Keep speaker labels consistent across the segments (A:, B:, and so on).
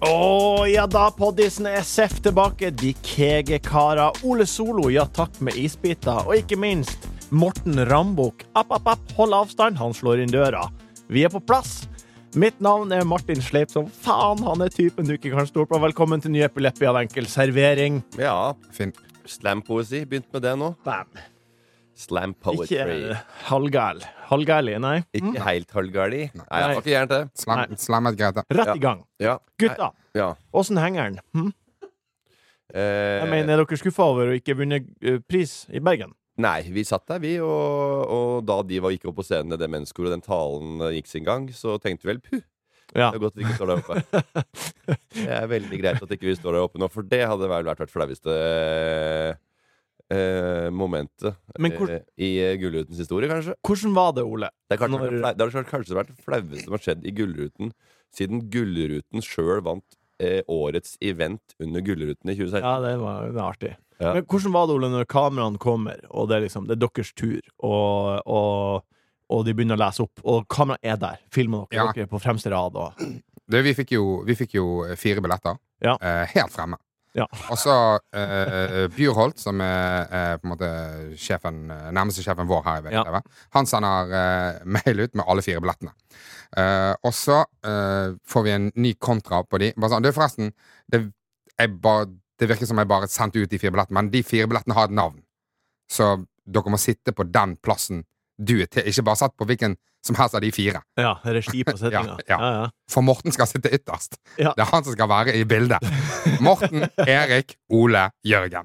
A: Å ja da, poddisen er seff tilbake. De kege karer. Ole Solo, ja takk med isbiter. Og ikke minst Morten Rambukk. App, app, app, hold avstand. Han slår inn døra. Vi er på plass. Mitt navn er Martin Sleip som faen. Han er typen du ikke kan stole på. Velkommen til ny epileppi av enkel servering.
B: Ja,
C: Finn.
B: slampoesi. Begynt med det nå.
A: Bam.
B: Slam
A: Ikke
B: poetry.
A: halvgæl. Halvgæli, nei.
B: Ikke helt halvgærlig. Nei, jeg får ikke jern til.
C: Slam, slam er greit, det.
A: Rett
B: Ja.
A: i gang.
B: Ja. Nei,
A: Gutta,
B: Ja.
A: åssen henger den? Hm?
B: Eh,
A: Jeg mener, er dere skuffa over å ikke vunne eh, pris i Bergen?
B: Nei, vi satt der, vi, og, og da de var gikk opp på scenen, det menneskeordet, den talen eh, gikk sin gang, så tenkte vi vel puh,
A: Ja.
B: Det er godt vi ikke står der oppe. Det er veldig greit at ikke vi står der oppe nå, for det hadde vel vært det flaueste eh, momentet
A: Men hvor-
B: eh, i Gullrutens historie, kanskje.
A: Hvordan var det, Ole?
B: Det, er klart,
A: Når-
B: det, har klart, kanskje vært det flaueste som har skjedd i Gullruten siden Gullruten sjøl vant eh, årets event under Gullruten i 2016.
A: Ja, det var, det var artig.
B: Ja.
A: Men hvordan var det, Ole, når kameraene kommer, og det er liksom Det er deres tur, og, og, og de begynner å lese opp, og kameraet er der, filmer dere,
C: Ja.
A: dere er på fremste rad og
C: Du, vi fikk jo, vi fikk jo eh, fire billetter.
A: Ja.
C: Eh, helt fremme.
A: Ja.
C: Og så eh, eh, Bjurholt, som er eh, på en måte sjefen, eh, nærmeste sjefen vår her i VGTV, han sender eh, mail ut med alle fire billettene. Eh, og så eh, får vi en ny kontra på de. Bare sånn, du, forresten, det, jeg bare, det virker som jeg bare sendte ut de fire billettene, men de fire billettene har et navn. Så dere må sitte på den plassen du er til. Ikke bare satt på hvilken som helst av de fire.
A: Ja, regi på settinga.
C: Ja, ja. For Morten skal sitte ytterst.
A: Ja.
C: Det er han som skal være i bildet. Morten, Erik, Ole, Jørgen.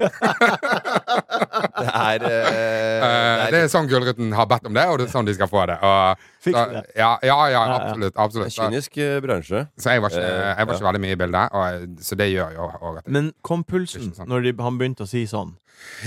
B: Det er, eh,
C: Eh,
B: det
C: det er sånn Gullruten har bedt om det, og det er sånn de skal få det. Og,
A: Fikk
C: så-
A: det.
C: Ja, ja, ja,
A: Ja, ja.
C: absolutt.
B: er
C: absolutt.
B: en
C: Så,
B: kynisk eh, bransje.
C: så jeg var ikke,
B: Eh,
C: jeg var ikke veldig mye i bildet, og, så det gjør jo òg at
A: Men kom pulsen
B: sånn.
C: Ikke sant.
A: når de, han begynte å si sånn?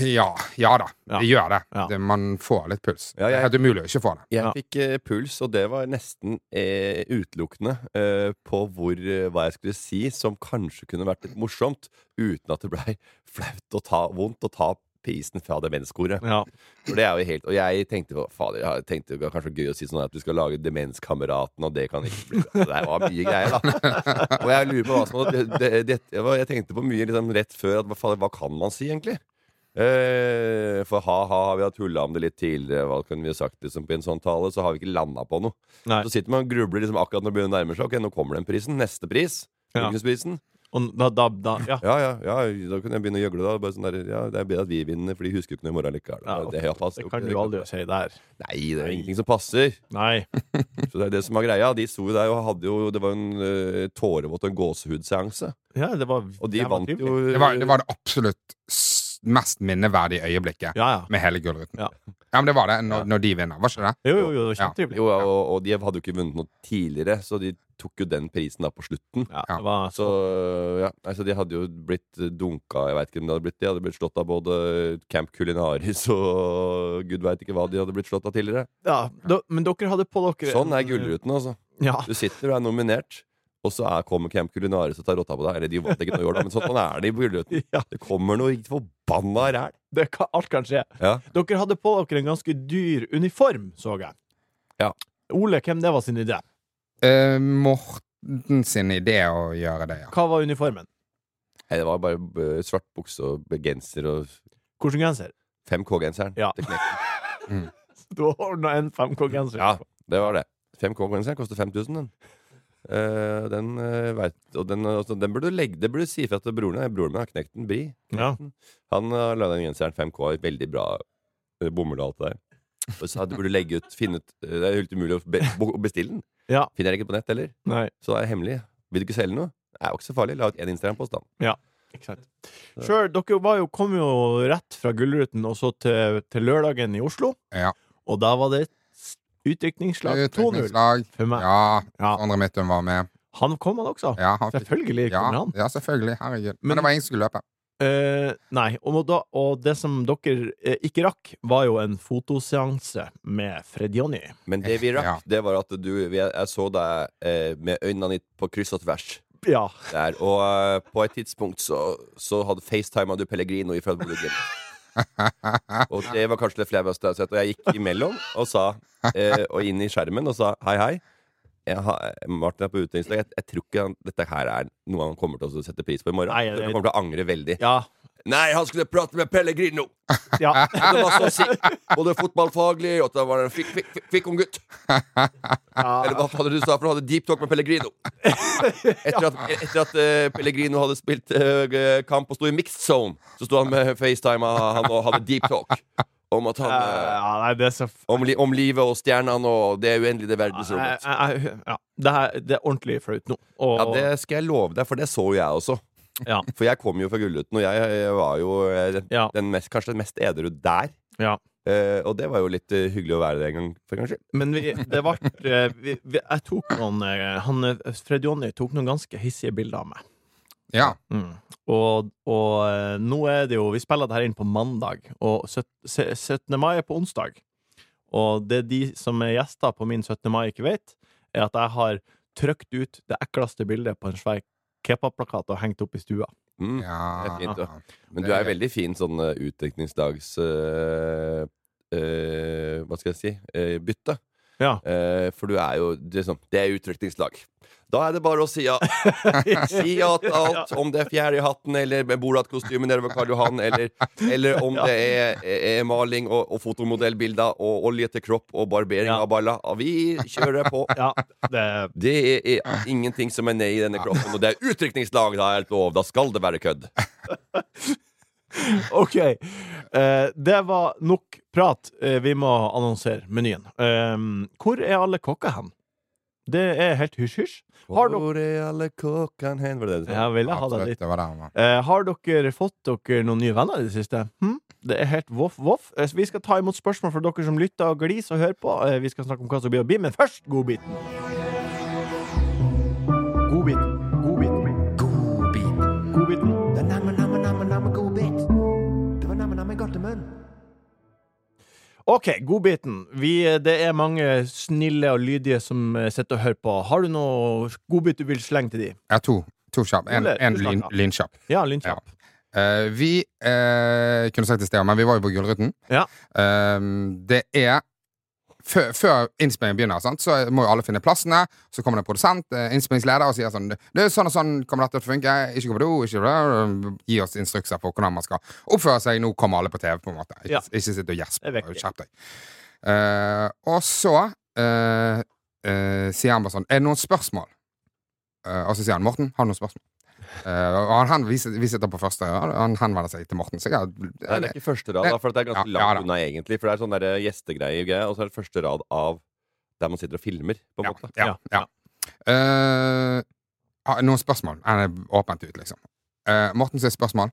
C: Ja, ja da.
A: Ja.
C: Det gjør det.
A: Ja.
C: det. Man får litt puls.
B: Ja, jeg-
C: Det er helt umulig å ikke få det.
B: Jeg
A: Ja.
B: fikk eh, puls, og det var nesten eh, utelukkende eh, på hvor, eh, hva jeg skulle si som kanskje kunne vært litt morsomt, uten at det blei flaut og ta, vondt å ta prisen fra demenskoret.
A: Ja.
B: For det er jo helt, og jeg tenkte på, fader, jeg tenkte det var kanskje gøy å si sånn at du skal lage Demenskameraten, og det kan ikke bli bra. Det var mye greier, da. Og jeg lurer på hva som det, det, det, det var- Jeg tenkte på mye liksom, rett før at hva, faen, hva kan man si, egentlig? Eh, for ha-ha, har vi hatt tulla om det litt tidligere, hva kunne vi ha sagt liksom, på en sånn tale? Så har vi ikke landa på noe.
A: Nei.
B: Så sitter man og grubler liksom, akkurat når det begynner å nærme seg. Ok, nå kommer den prisen. Neste pris.
A: Ja.
B: Gullrutensprisen.
A: Og da, da, da ja.
B: Ja, ja, ja, da kunne jeg begynne å gjøgle. da Bare sånn der, ja, Det er bedre at vi vinner, for de husker jo ikke noe i morgen likevel.
A: Ja,
B: det, det,
A: Det kan du aldri si der.
B: Nei, det er ingenting som passer.
A: Nei.
B: Så det er det som er greia. De sto jo der og hadde jo Det var jo en uh, tårevåt og en gåsehudseanse.
A: Ja, det var
B: Og de
A: jævla
B: vant
A: trivelig.
B: jo
C: Det var det, var det absolutt s- mest minneverdige øyeblikket
A: Ja, ja.
C: med hele Gullruten.
A: Ja.
C: men det var det, når,
A: Ja.
C: når de vinner. Var ikke det?
A: Jo, jo, jo, det var
C: Ja.
A: kjempetrivelig.
B: Jo, ja, og, og de hadde jo ikke vunnet noe tidligere, så de tok jo den prisen da på slutten.
A: Ja, det var
B: Så ja, nei, så de hadde jo blitt dunka Jeg vet ikke hvem de hadde blitt. De hadde blitt slått av både Camp Culinaris og gud veit ikke hva de hadde blitt slått av tidligere.
A: Ja, da, men dere hadde på dere
B: Sånn er Gullruten, altså.
A: Ja,
B: Du sitter og er nominert, og så er, kommer Camp Culinaris og tar rotta på deg. Eller de vant ikke noe i år, da, men sånn er det i Gullruten.
A: ja
B: Det kommer noe forbanna ræl.
A: det kan, alt kan skje.
B: Ja.
A: Dere hadde på dere en ganske dyr uniform, så jeg.
B: Ja.
A: Ole, hvem det var sin idé?
C: Eh, Morten sin idé å gjøre det, ja.
A: Hva var uniformen?
B: Nei, det var bare eh, svart bukse og genser og
A: Hvilken genser?
B: 5K-genseren.
A: Ja.
B: til knekk.
A: Du har ordna en 5K-genser.
B: Ja, det var det. 5K-genseren koster 5000, den. Eh, den eh, vet, og den, eh, altså, den burde du legge Det burde du si fra til broren din. Broren min har knekt den, Bri.
A: Ja.
B: Han har laga den genseren 5K i veldig bra eh, bomull og alt det der. Og så hadde- burde du legge ut, finne ut eh, Det er jo helt umulig å be, bo- bestille den.
A: Ja.
B: Finner jeg ikke på nett heller.
A: Nei,
B: Så det er hemmelig. Vil du ikke selge noe? Det er jo ikke så farlig. La ut én Instagram-post, da.
A: ikke sant. Sjøl, dere var jo, kom jo rett fra Gullruten og så til, til lørdagen i Oslo,
C: ja.
A: og da var det s- utdrikningslag 2-0
C: Utdrikningslag.
A: for meg.
C: Ja,
A: Ja.
C: Sondre Midtun var med.
A: Han kom, han også.
C: Ja, han fikk-
A: Selvfølgelig kom
C: ja,
A: han.
C: ja, selvfølgelig. Herregud. Men,
A: Men-
C: det var ingen som skulle løpe.
A: Eh, nei. Og, da, og det som dere eh, ikke rakk, var jo en fotoseanse med Fred Jonny.
B: Men det vi rakk,
C: Ja.
B: det var at du vi- Jeg så deg eh, med øynene ditt på kryss og tvers.
A: Ja.
B: Der. Og eh, på et tidspunkt så, så hadde facetima du Pellegrino ifra Bologna. Og det var kanskje det flaueste jeg har sett. Og jeg gikk imellom og sa eh, Og inn i skjermen og sa hei, hei. Jeg har, Martin er på utenrikslag. Jeg, jeg tror ikke han, dette her er noe han kommer til å sette pris på i morgen.
A: Nei,
B: jeg,
A: jeg-
B: tror han kommer til å angre veldig.
A: Ja.
B: Nei, han skulle prate med Pellegrino!
A: ja.
B: Og det var så sikkert. Både fotballfaglig og at det var en fikk, fikk, fikk, fikk om gutt. Eller hva fader du sa, for du hadde deep talk med Pellegrino. Etter at, etter at eh, Pellegrino hadde spilt eh, kamp og sto i mixed zone, så sto han med FaceTime han og hadde deep talk om at han
A: Eh,
B: eh,
A: ja, nei, det er så f-
B: om, li, om livet og stjernene og det uendelige
A: Jeg-
B: verdensrommet.
A: jeg- jeg- ja. det, her, det er ordentlig flaut nå. Og,
B: Ja, det skal jeg love deg, for det så jo jeg også.
A: ja,
B: For jeg kom jo fra Gullruten, og jeg, eh, var jo eh,
A: ja,
B: den mest, kanskje den mest edru der.
A: ja.
B: Eh, og det var jo litt eh, hyggelig å være der en gang for, kanskje.
A: Men vi, det ble eh, vi, vi, Jeg tok noen eh, han, eh, Fred Jonny tok noen ganske hissige bilder av meg.
C: Ja.
A: Mm. Og, og eh, nå er det jo Vi spiller det her inn på mandag, og søt- se- 17. mai er på onsdag. Og det de som er gjester på min 17. mai, ikke vet, er at jeg har trykt ut det ekleste bildet på en svær Kepa-plakat og hengt opp i stua.
B: Mm.
C: Ja.
B: Det er fint, da. Men
C: Det
B: du
C: er
B: er
C: gøy.
B: veldig fin sånn eh, utdekningsdags eh, eh, Hva skal jeg si? eh, bytte.
A: Ja.
B: Eh, for du er jo det er sånn, Det er utdekningslag. Da er det bare å si ja. Si ja til alt. Om det er fjær i hatten, eller med Borat-kostyme nede ved Karl Johan, eller, eller om det er, er maling og, og fotomodellbilder og olje til kropp og barbering
A: Ja.
B: av baller. Ja, Vi kjører på.
A: Ja, det
B: Det er, er ingenting som er nei i denne kroppen, og det er utdrikningslag, da er det lov. Da skal det være kødd.
A: OK. Eh, det var nok prat. Eh, vi må annonsere menyen. Eh, hvor er alle kokker hen? Det er helt hysj-hysj. Har dere-
B: er alle kokkene hen? Var det det du sa?
A: Jeg ville ha deg
C: Absolutt,
A: dit.
C: det var der han var.
A: Eh, har dere fått dere noen nye venner i det siste? Hm? Det er helt voff-voff. Eh, så vi skal ta imot spørsmål fra dere som lytter og gliser og hører på. Eh, vi skal snakke om hva som blir å bli, men først godbiten. Godbiten. Godbiten. Godbiten. OK, godbiten. Vi, det er mange snille og lydige som eh, sitter og hører på. Har du noe godbit du vil slenge til de?
C: Jeg har to. To kjapp. En,
A: Ole,
C: en
A: du
C: lyn,
A: snakker.
C: lynkjapp.
A: Ja, lynkjapp.
C: Eh, vi eh, kunne sagt det i sted, men vi var jo på Gullruten.
A: Ja.
C: Eh, det er før, før innspillingen begynner, sant? så må jo alle finne plassene. Så kommer det en produsent, eh, innspillingsleder, og sier sånn Det er sånn og sånn kommer dette til å funke. Ikke gå på do, ikke bla, Gi oss instrukser på hvordan man skal oppføre seg. Nå kommer alle på TV, på en måte. Ikke,
A: Ja.
C: ikke sitt og gjesp.
A: Det er viktig.
C: Skjerp deg. Eh, og så eh, eh, sier han bare sånn Er det noen spørsmål? Eh, og så sier han Morten, har du noen spørsmål? Eh, og han, hen- vi, sit- vi sitter på første rad, og han henvender seg til Morten. Så jeg,
B: Nei, det er ikke første rad, da, for det er ganske
C: Ja, ja,
B: langt
C: da.
B: unna, egentlig. For det er sånn der gjestegreie, greie, og så er det første rad av der man sitter og filmer, på en
C: ja,
B: måte.
C: ja,
A: Ja,
C: ja. Eh, har- noen spørsmål? Han er åpent ut, liksom. Eh, Morten sier spørsmål.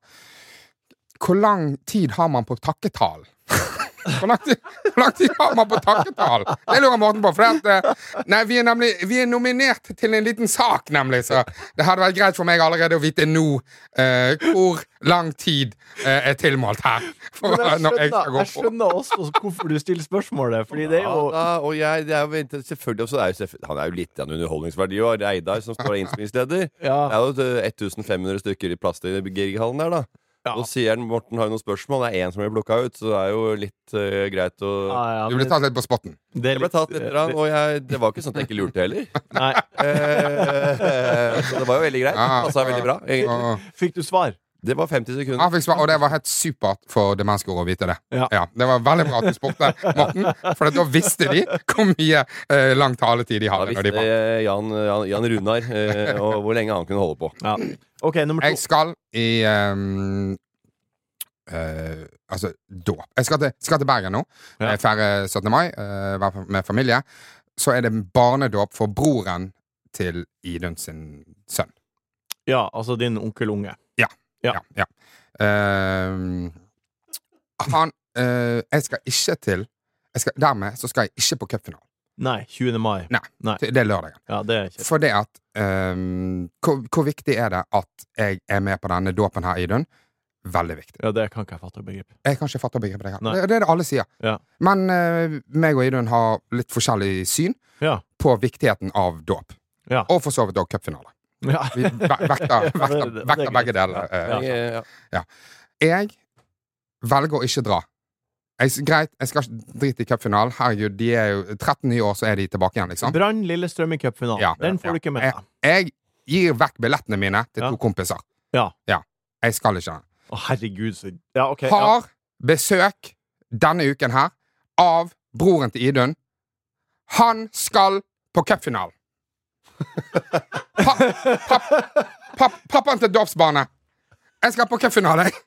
C: Hvor lang tid har man på takketall? Hvor lang, tid, hvor lang tid har man på takketall? Det lurer Morten på. For det at, eh, nei, vi, er nemlig, vi er nominert til en liten sak, nemlig. Så det hadde vært greit for meg allerede å vite nå eh, hvor lang tid eh, er tilmålt her. For,
A: Men jeg
C: når jeg skal
A: skjønner,
C: gå
A: jeg
C: på.
A: skjønner også hvorfor du stiller spørsmålet, fordi det er jo
B: Ja, da, og jeg, det er jo vent- selvfølgelig også, det er jo selvfølgelig, Han er jo litt av en underholdningsverdi, og Reidar, som står innspillingsleder. Det
A: ja,
B: er jo eh, 1500 stykker i plass til Grieghallen der, da.
A: Ja.
B: Og sier han Morten har jo noen spørsmål, det er én som blir plukka ut, så det er jo litt eh, greit å
A: ja, ja,
C: Du ble
A: men
C: tatt litt på spotten.
A: det er
B: Jeg ble
A: litt- eh,
B: tatt litt, rann, og jeg, det var ikke sånn at jeg ikke lurte heller.
A: Nei.
B: Eh, så det var jo veldig greit.
C: Ja,
B: Passa veldig bra. egentlig.
C: Og,
A: Fikk du svar?
B: Det var 50 sekunder.
C: Han fikk svar, og det var helt supert for demenskoret å vite det.
A: Ja.
C: Det var veldig bra at du spurte, Morten, for da visste de hvor mye eh, lang taletid de
B: Da
C: hadde. Når
B: visste
C: de var.
B: eh, Jan, Jan, Jan Runar eh, og hvor lenge han kunne holde på.
A: Ja. OK, nummer
C: Jeg
A: to.
C: skal i ehm, eh, altså, dåp. Jeg skal til, skal til Bergen nå.
A: Ja.
C: Jeg feirer 17. mai eh, være med familie. Så er det en barnedåp for broren til Idun sin sønn.
A: Ja, altså din onkel Unge. Ja.
C: Ja. ja. Ehm, han eh, Jeg skal ikke til jeg skal, Dermed så skal jeg ikke på cupfinalen.
A: Nei, 20. mai.
C: Det det er lørdagen.
A: Ja, det er ikke
C: For det at ehm, hvor, hvor viktig er det at jeg er med på denne dåpen her, Idun? Veldig viktig.
A: Ja, det kan ikke jeg fatte og begripe.
C: Jeg kan ikke fatte begrepet det her.
A: Nei.
C: Det, det er det alle sier.
A: Ja.
C: Men eh, meg og Idun har litt forskjellig syn
A: Ja.
C: på viktigheten av dåp.
A: Ja.
C: Og for så vidt òg cupfinale.
A: Ja.
C: Vi ve- vekter, vekter,
A: det er
C: vekter
A: greit.
C: begge deler.
A: Ja.
C: eh.
B: Jeg, ja.
C: Jeg velger å ikke dra. Jeg, s- greit, jeg skal ikke drite i cupfinalen. Herregud, de er jo 13 nye år, så er de tilbake igjen, liksom.
A: Brann Lillestrøm i cupfinalen.
C: Ja.
A: Den får
C: Ja.
A: du ikke med
C: Jeg-
A: deg.
C: Jeg gir vekk billettene mine til
A: Ja.
C: to kompiser.
A: Ja.
C: Jeg skal ikke det.
A: Å, herregud, så Ja, OK. Ja.
C: Har besøk denne uken her av broren til Idun. Han skal på cupfinalen! Pa, pa, pa, pappaen til dåpsbarnet. Jeg skal på cupfinale, jeg.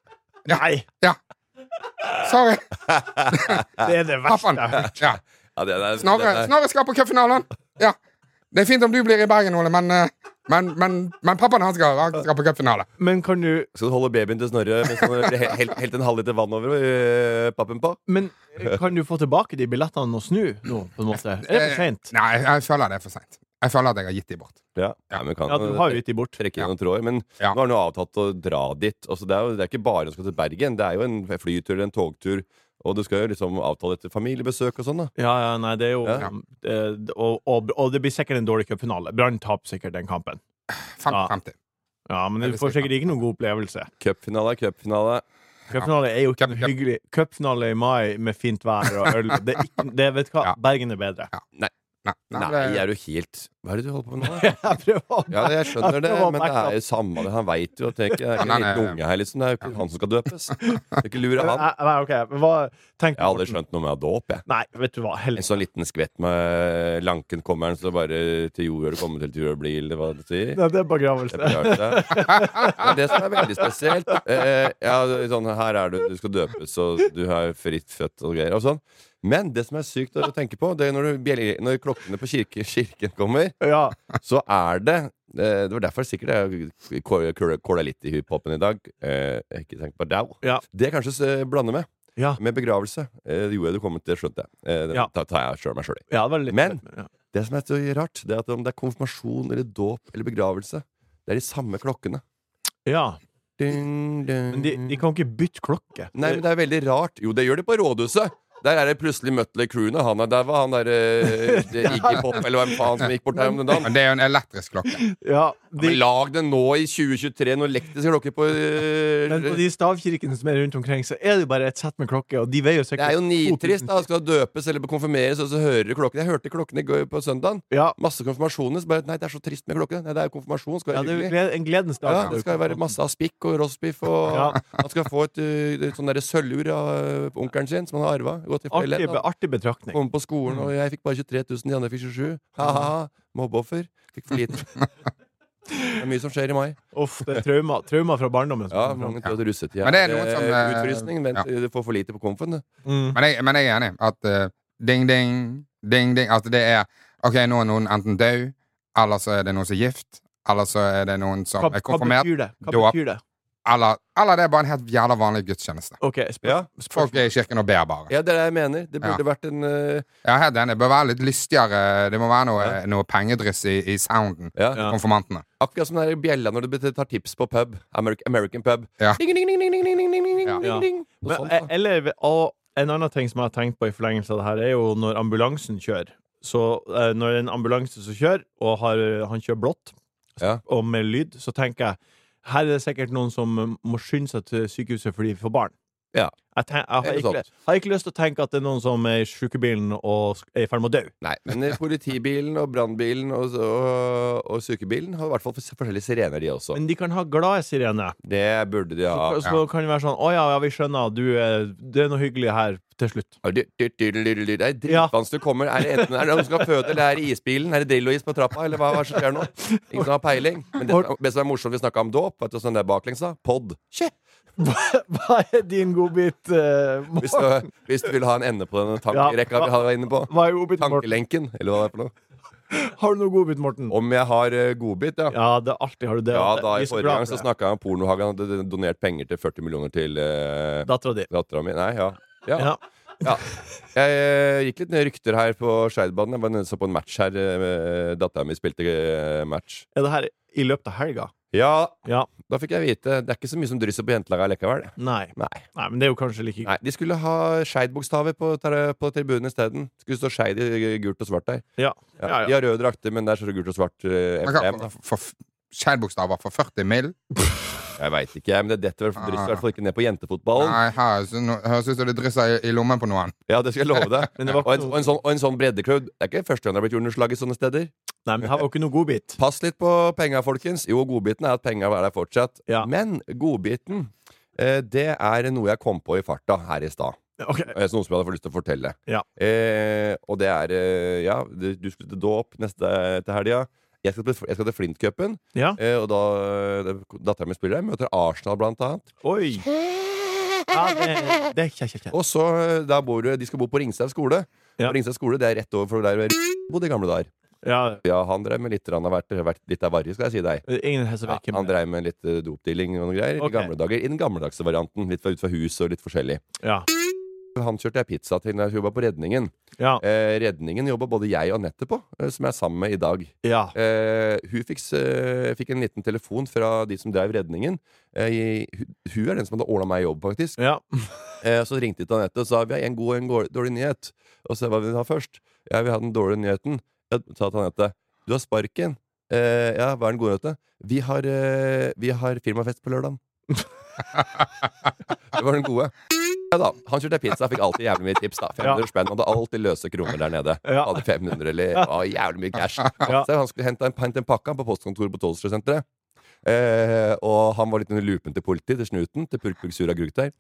A: Nei!
C: Ja. Sorry.
A: Det er det verste
C: Pappaen.
A: jeg har hørt.
C: Ja.
B: Ja, det, det,
C: Snorre,
B: det,
C: Snorre skal på cupfinalen! Ja. Det er fint om du blir i Bergen, Ole, men, eh, men, men, men pappaen han skal, han skal på cupfinale.
A: Men kan du
B: Skal du holde babyen til Snorre mens han he- helt, helt en halvliter vann over øh, pappen på?
A: Men kan du få tilbake de billettene og snu nå, på en måte? Er det
B: Eh,
A: for seint?
C: Nei, jeg føler det er for seint. Jeg føler at jeg har gitt dem bort.
B: Ja, ja men kan
A: Ja, du har jo gitt de bort.
B: trekke inn noen tråder. Men
C: Ja.
B: nå har han jo avtalt å dra dit. Altså, det, er jo, det er ikke bare å skal til Bergen. Det er jo en flytur eller en togtur. Og du skal jo liksom avtale et familiebesøk og sånn, da.
A: Ja, ja, nei, det er jo
B: Ja.
A: eh, og, og, og det blir sikkert en dårlig cupfinale. Brann taper sikkert den kampen.
C: Fem-
A: Ja.
C: 50.
A: Ja, Men du
C: Eller
A: får sikkert ikke noen god opplevelse.
B: Cupfinale er cupfinale.
A: Cupfinale er jo ikke
C: Cup-
A: noe
C: cup-
A: hyggelig. Cupfinale i mai med fint vær og øl Det er ikke, det, vet du hva,
C: Ja.
A: Bergen er bedre.
C: Nei, nei,
B: Nei,
C: det-
B: er du helt Hva er det du holder på med nå? da?
A: Jeg prøver å
B: Ja, jeg skjønner det,
A: Det var
B: men det er jo samme det. Han veit jo at det er ikke det er ikke
C: Ja,
B: en
C: nei,
B: liten
C: nei.
B: unge her, liksom. Det er jo ikke han som skal døpes. Det er ikke lure han.
A: Nei, nei, OK. men Hva, tenk
B: Jeg har aldri skjønt noe med dåp, jeg.
A: Nei, vet du hva.
B: En
A: Helst.
B: sånn liten skvett med lanken kommer den, så bare til jord gjør det komme til til jord blir, eller hva det sier.
A: Nei, det er begravelse.
B: Det er det som er veldig spesielt. Eh, ja, sånn, her er du, du skal døpes, og du er fritt født og greier. Og sånn. Men det som er sykt å tenke på, det er når, du, bjeller- når klokkene på kirke, kirken kommer,
A: Ja.
B: så er det eh, Det var derfor sikkert jeg kåla- kåla kåla litt i hiphopen i dag. Eh, jeg har ikke tenkt på dau.
A: Ja.
B: Det kanskje s- blander med.
A: Ja.
B: Med begravelse. Eh, det gjorde jeg, du kom til, skjønte jeg. Eh, det
A: Ja.
B: tar tar jeg sjøl meg sjøl i.
A: ja det var litt
B: Men-
A: ja.
B: Det som er så rart, det er at om det er konfirmasjon eller dåp eller begravelse, det er de samme klokkene.
A: ja.
B: Ding, ding.
A: Men de, de kan ikke bytte klokke.
B: Nei, men det er veldig rart. Jo, det gjør de på rådhuset. Der er det plutselig Mutley Crew når han er der. Var han der eh, det- Iggy Pop, eller hvem faen som gikk bort der om den dagen?
C: Men det er jo en elektrisk klokke.
A: Ja,
B: Ja,
A: de,
B: Men lag den nå i 2023, noen elektriske klokker på eh,
A: men på de stavkirkene som er rundt omkring, så er det jo bare et sett med klokker, og de veier jo
B: Det er
A: sikkert
B: jo nitrist. da Skal du døpes eller konfirmeres, og så hører du klokken. Jeg hørte klokken i går på søndagen.
A: Ja,
B: Masse konfirmasjoner. Så bare Nei, det er så trist med klokken. Nei, det er jo konfirmasjon. Skal
A: ja
B: være
A: det er jo
B: hyggelig.
A: gled, en gledens dag.
B: Ja, det skal jo være masse aspikk og rostbiff, og
A: Ja.
B: han skal få et, eh, et sånn derre sølvur av eh, onkelen sin, som han har arva. Gått i
A: artig,
B: foreldre.
A: artig betraktning.
B: Kom på skolen, og jeg fikk bare 23 000, de andre fikk 27 Ha-ha, mobbeoffer. Fikk for lite. Det er mye som skjer i mai.
A: Uff, det er trauma, trauma fra barndommen. som
B: Ja,
A: kommer
B: mange
A: fram.
B: tror at russetida
C: Men det er noen
B: eh,
C: som, eh,
B: Utfrysning. Vent,
C: ja.
B: du får for lite på komfen, du.
A: Mm.
C: Men jeg, men jeg er enig at eh, ding, ding, ding, ding At det er OK, nå er noen enten død, eller så er det noen som er gift, eller så er det noen som
A: Hva,
C: er
A: hva
C: konfirmert,
A: betyr det? Hva
C: dåp.
A: betyr det?
C: eller, eller det er bare en helt jævla vanlig gudstjeneste.
A: OK, spør.
B: Ja.
C: Folk er i kirken og ber bare.
B: Ja, det er det jeg mener. Det burde vært en eh,
C: Jeg er helt enig. Det bør være litt lystigere. Det må være noe,
B: Ja.
C: noe pengedryss i, i sounden.
B: ja.
A: Ja.
C: Konfirmantene.
B: Akkurat som den der bjella når du bet- tar tips på pub. American, American pub.
C: Ja.
B: Ding, ding, ding, ding, ding, ding, ding, ding, ding,
C: Ja.
B: ding, ding. Noe
A: Men, eh,
B: sånt, da.
A: eller, og en annen ting som jeg har tenkt på i forlengelse av det her, er jo når ambulansen kjører. Så eh, når det er en ambulanse som kjører, og har, han kjører blått,
B: Ja.
A: og med lyd, så tenker jeg her er det sikkert noen som eh, må skynde seg til sykehuset fordi de får barn.
B: Ja.
A: Jeg, ten, jeg har,
B: Eller
A: ikke,
B: sånt.
A: har ikke lyst til å tenke at det er noen som er i sykebilen og sk- er i ferd med å dø.
B: Nei, men eh, politibilen og brannbilen og, og, og sykebilen har i hvert fall fors- forskjellige sirener, de også.
A: Men de kan ha glade sirener.
B: Det burde de ha.
A: Så, så kan det være sånn Å ja, ja, vi skjønner. Du, eh, det er noe hyggelig her til slutt.
B: Ja, du- du- du- du- du- du- Det er
A: Ja.
B: dritvanskelig du kommer. Er det enten er det noen som skal føde, eller er det isbilen? Er det Drillo-is på trappa, eller hva, hva er det som skjer nå? Ingen som har peiling. Men det, som er- det som er morsomt, vi snakka om dåp, vet du, sånn der baklengs, da. Pod. Tje.
A: Hva er din godbit, eh,
B: Hvis
A: Morten?
B: du, hvis du vil ha en ende på denne tankerekka vi var inne på.
A: Hva er godbit, Morten?
B: Tankelenken, eller hva det er for noe.
A: Har du noe godbit, Morten?
B: Om jeg har eh, godbit, ja.
A: Ja, det er alltid har du det.
B: Ja,
A: Det-
B: da
A: vi
B: I
A: er så
B: forrige
A: glad
B: gang
A: for
B: så
A: det.
B: snakka jeg om Pornohagen hadde donert penger til 40 millioner til uh,
A: Dattera di.
B: dattera mi. Nei, ja. Ja.
A: Ja.
B: Ja. Jeg eh, gikk litt ned rykter her på Skeidbanen. Jeg var nede og så på en match her. eh, Datteren min spilte eh, match.
A: Er det her i løpet av helga?
B: Ja,
A: Ja.
B: da fikk jeg vite Det er ikke så mye som drysser på jentelaget likevel.
A: Nei.
B: Nei.
A: Nei, men det er jo kanskje like
B: Nei, De skulle ha Skeid-bokstaver på, ter- på tribunen isteden. Skulle stå Skeid i gult og svart der.
A: Ja.
B: Ja,
A: Ja, ja.
B: De har røde drakter, men det er så gult og svart eh,
C: Man
B: emblem.
C: kan- for- for- Skeidbokstaver for 40 mill.
B: Jeg veit ikke, jeg, men det detter vel drysser i hvert fall ikke ned på jentefotballen.
C: Ah. Nei, her så nå- Høres ut som det drysser i, i lommen på noen.
B: Ja, det skal jeg love deg.
A: Men det var
B: Og en,
A: ikke
B: og
A: noe,
B: en sånn, og en sånn breddeklubb. Det er ikke første gang det har blitt jordnedslag i sånne steder.
A: nei, men det her var jo ikke noe godbit.
B: Pass litt på penga, folkens. Jo, godbiten er at penga er der fortsatt.
A: Ja.
B: Men godbiten, eh, det er noe jeg kom på i farta her i stad.
A: Ok.
B: Eh, Så noe som jeg hadde fått lyst til å fortelle.
A: Ja.
B: Eh, og det er eh, Ja, du, du skulle til dåp neste til helga. Jeg skal til, jeg skal til Flintcupen,
A: Ja.
B: eh, og da dattera mi spiller der. Møter Arsenal, blant annet.
A: Oi. Ja, det, det er kjekt, kjekt, kjekt.
B: Og så eh, der bor du- De skal bo på Ringstad skole.
A: Ja.
B: Og Ringstad skole det er rett over for der vi bodde i gamle dager.
A: Ja,
B: Ja, han drev med litt grann av hvert, hvert- litt av varje, skal jeg si deg.
A: ingen her som
B: Ja,
A: vet hvem
B: han
A: det er.
B: dreiv med litt eh, dopdealing og noen greier
A: Ok.
B: i gamle dager. I den gammeldagse varianten. Litt fra, ut fra hus og litt forskjellig.
A: Ja.
B: Han kjørte jeg pizza til da jeg jobba på Redningen.
A: Ja.
B: Eh, redningen jobba både jeg og Anette på, eh, som jeg er sammen med i dag.
A: ja.
B: Eh, hun fikk, s- eh, fikk en liten telefon fra de som drev Redningen. Eh, i- hun, hun er den som hadde ordna meg jobb, faktisk.
A: Ja.
B: Eh, så ringte de til Anette og sa vi har en god og en går- dårlig nyhet. Og så hva vil du ha først? Jeg vil ha den dårlige nyheten. Jeg sa til Anette du har sparken. Eh, ja, hva er den gode nyheten? Vi har, eh, vi har firmafest på lørdag. det var den gode. Ja da, Han kjørte pizza, fikk alltid jævlig mye tips. da 500 spenn, hadde alltid løse kroner der nede.
A: Ja.
B: Hadde 500 eller å, jævlig mye cash.
A: Ja.
B: Så han skulle hente en, hente en pakke på postkontoret på Tollsrødsenteret. Eh, og han var litt under lupen til politiet, til snuten, til purkpurk sura grugter.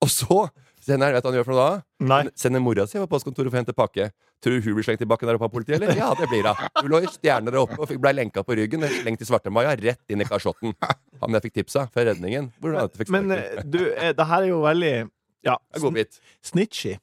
B: Og så sender han, vet du hva han gjør for noe da?
A: Nei.
B: Sender mora si på postkontoret for å hente pakke. Tror du hun blir slengt i bakken der oppe av politiet, eller? Ja, det blir hun. Hun lå i stjerner der oppe og fikk- ble lenka på ryggen og slengt i svartemaja rett inn i kasjotten. Han jeg fikk tipsa fra redningen. Hvor han fikk
A: Men
B: sparken.
A: eh, du, eh, det her er jo veldig Ja.
B: Det er god bit.
A: Snitchy.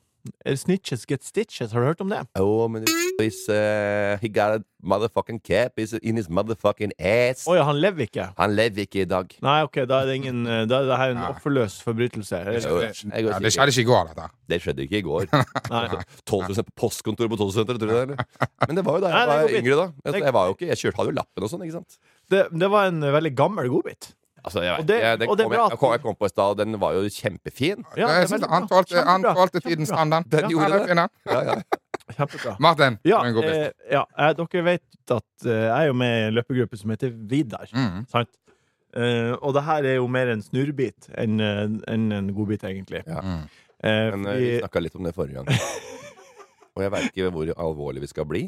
A: Eh, Snitches get stitches. Har du hørt om det?
B: Oh, men he's, eh, he got a motherfucking cap he's in his motherfucking ass.
A: Å ja, han lever ikke.
B: Han lever ikke i dag.
A: Nei, OK, da er det ingen eh, Da er det her en offerløs forbrytelse. Eller-
B: Jo, jeg går
C: Ja, det
B: sikkert.
C: skjedde ikke i går, dette.
B: Det skjedde ikke i går.
A: Nei.
B: 12 000 på postkontoret på 12 000, tror du det? Eller? Men det var jo da
A: Nei,
B: jeg var
A: det går fint.
B: yngre. da Jeg, jeg, var jo ikke, jeg kjørte, hadde jo lappen og sånn, ikke sant?
A: Det, det var en veldig gammel godbit.
B: Altså, jeg,
A: Og det-
B: jeg, den
A: og det er
B: kom,
A: bra
B: jeg,
A: at-
B: jeg, kom, jeg kom på i stad, og den var jo kjempefin.
A: Ja, det
C: jeg
A: er
C: synes
A: veldig bra.
C: han tålte, han
A: Kjempebra.
C: tålte tidens tann, den.
B: Den gjorde
C: den er
B: det.
C: fin, den.
B: Ja, ja.
A: Kjempebra.
C: Martin,
A: Ja,
C: du er en god bit.
A: eh, ja eh, dere vet at eh, jeg er jo med i en løpegruppe som heter Vidar.
C: Mm.
A: Sant? Eh, og det her er jo mer en snurrbit enn eh, enn en godbit, egentlig.
B: Ja.
C: Mm.
A: Eh,
B: Men eh,
A: fordi,
B: vi snakka litt om det forrige gang. Og jeg veit ikke hvor alvorlig vi skal bli.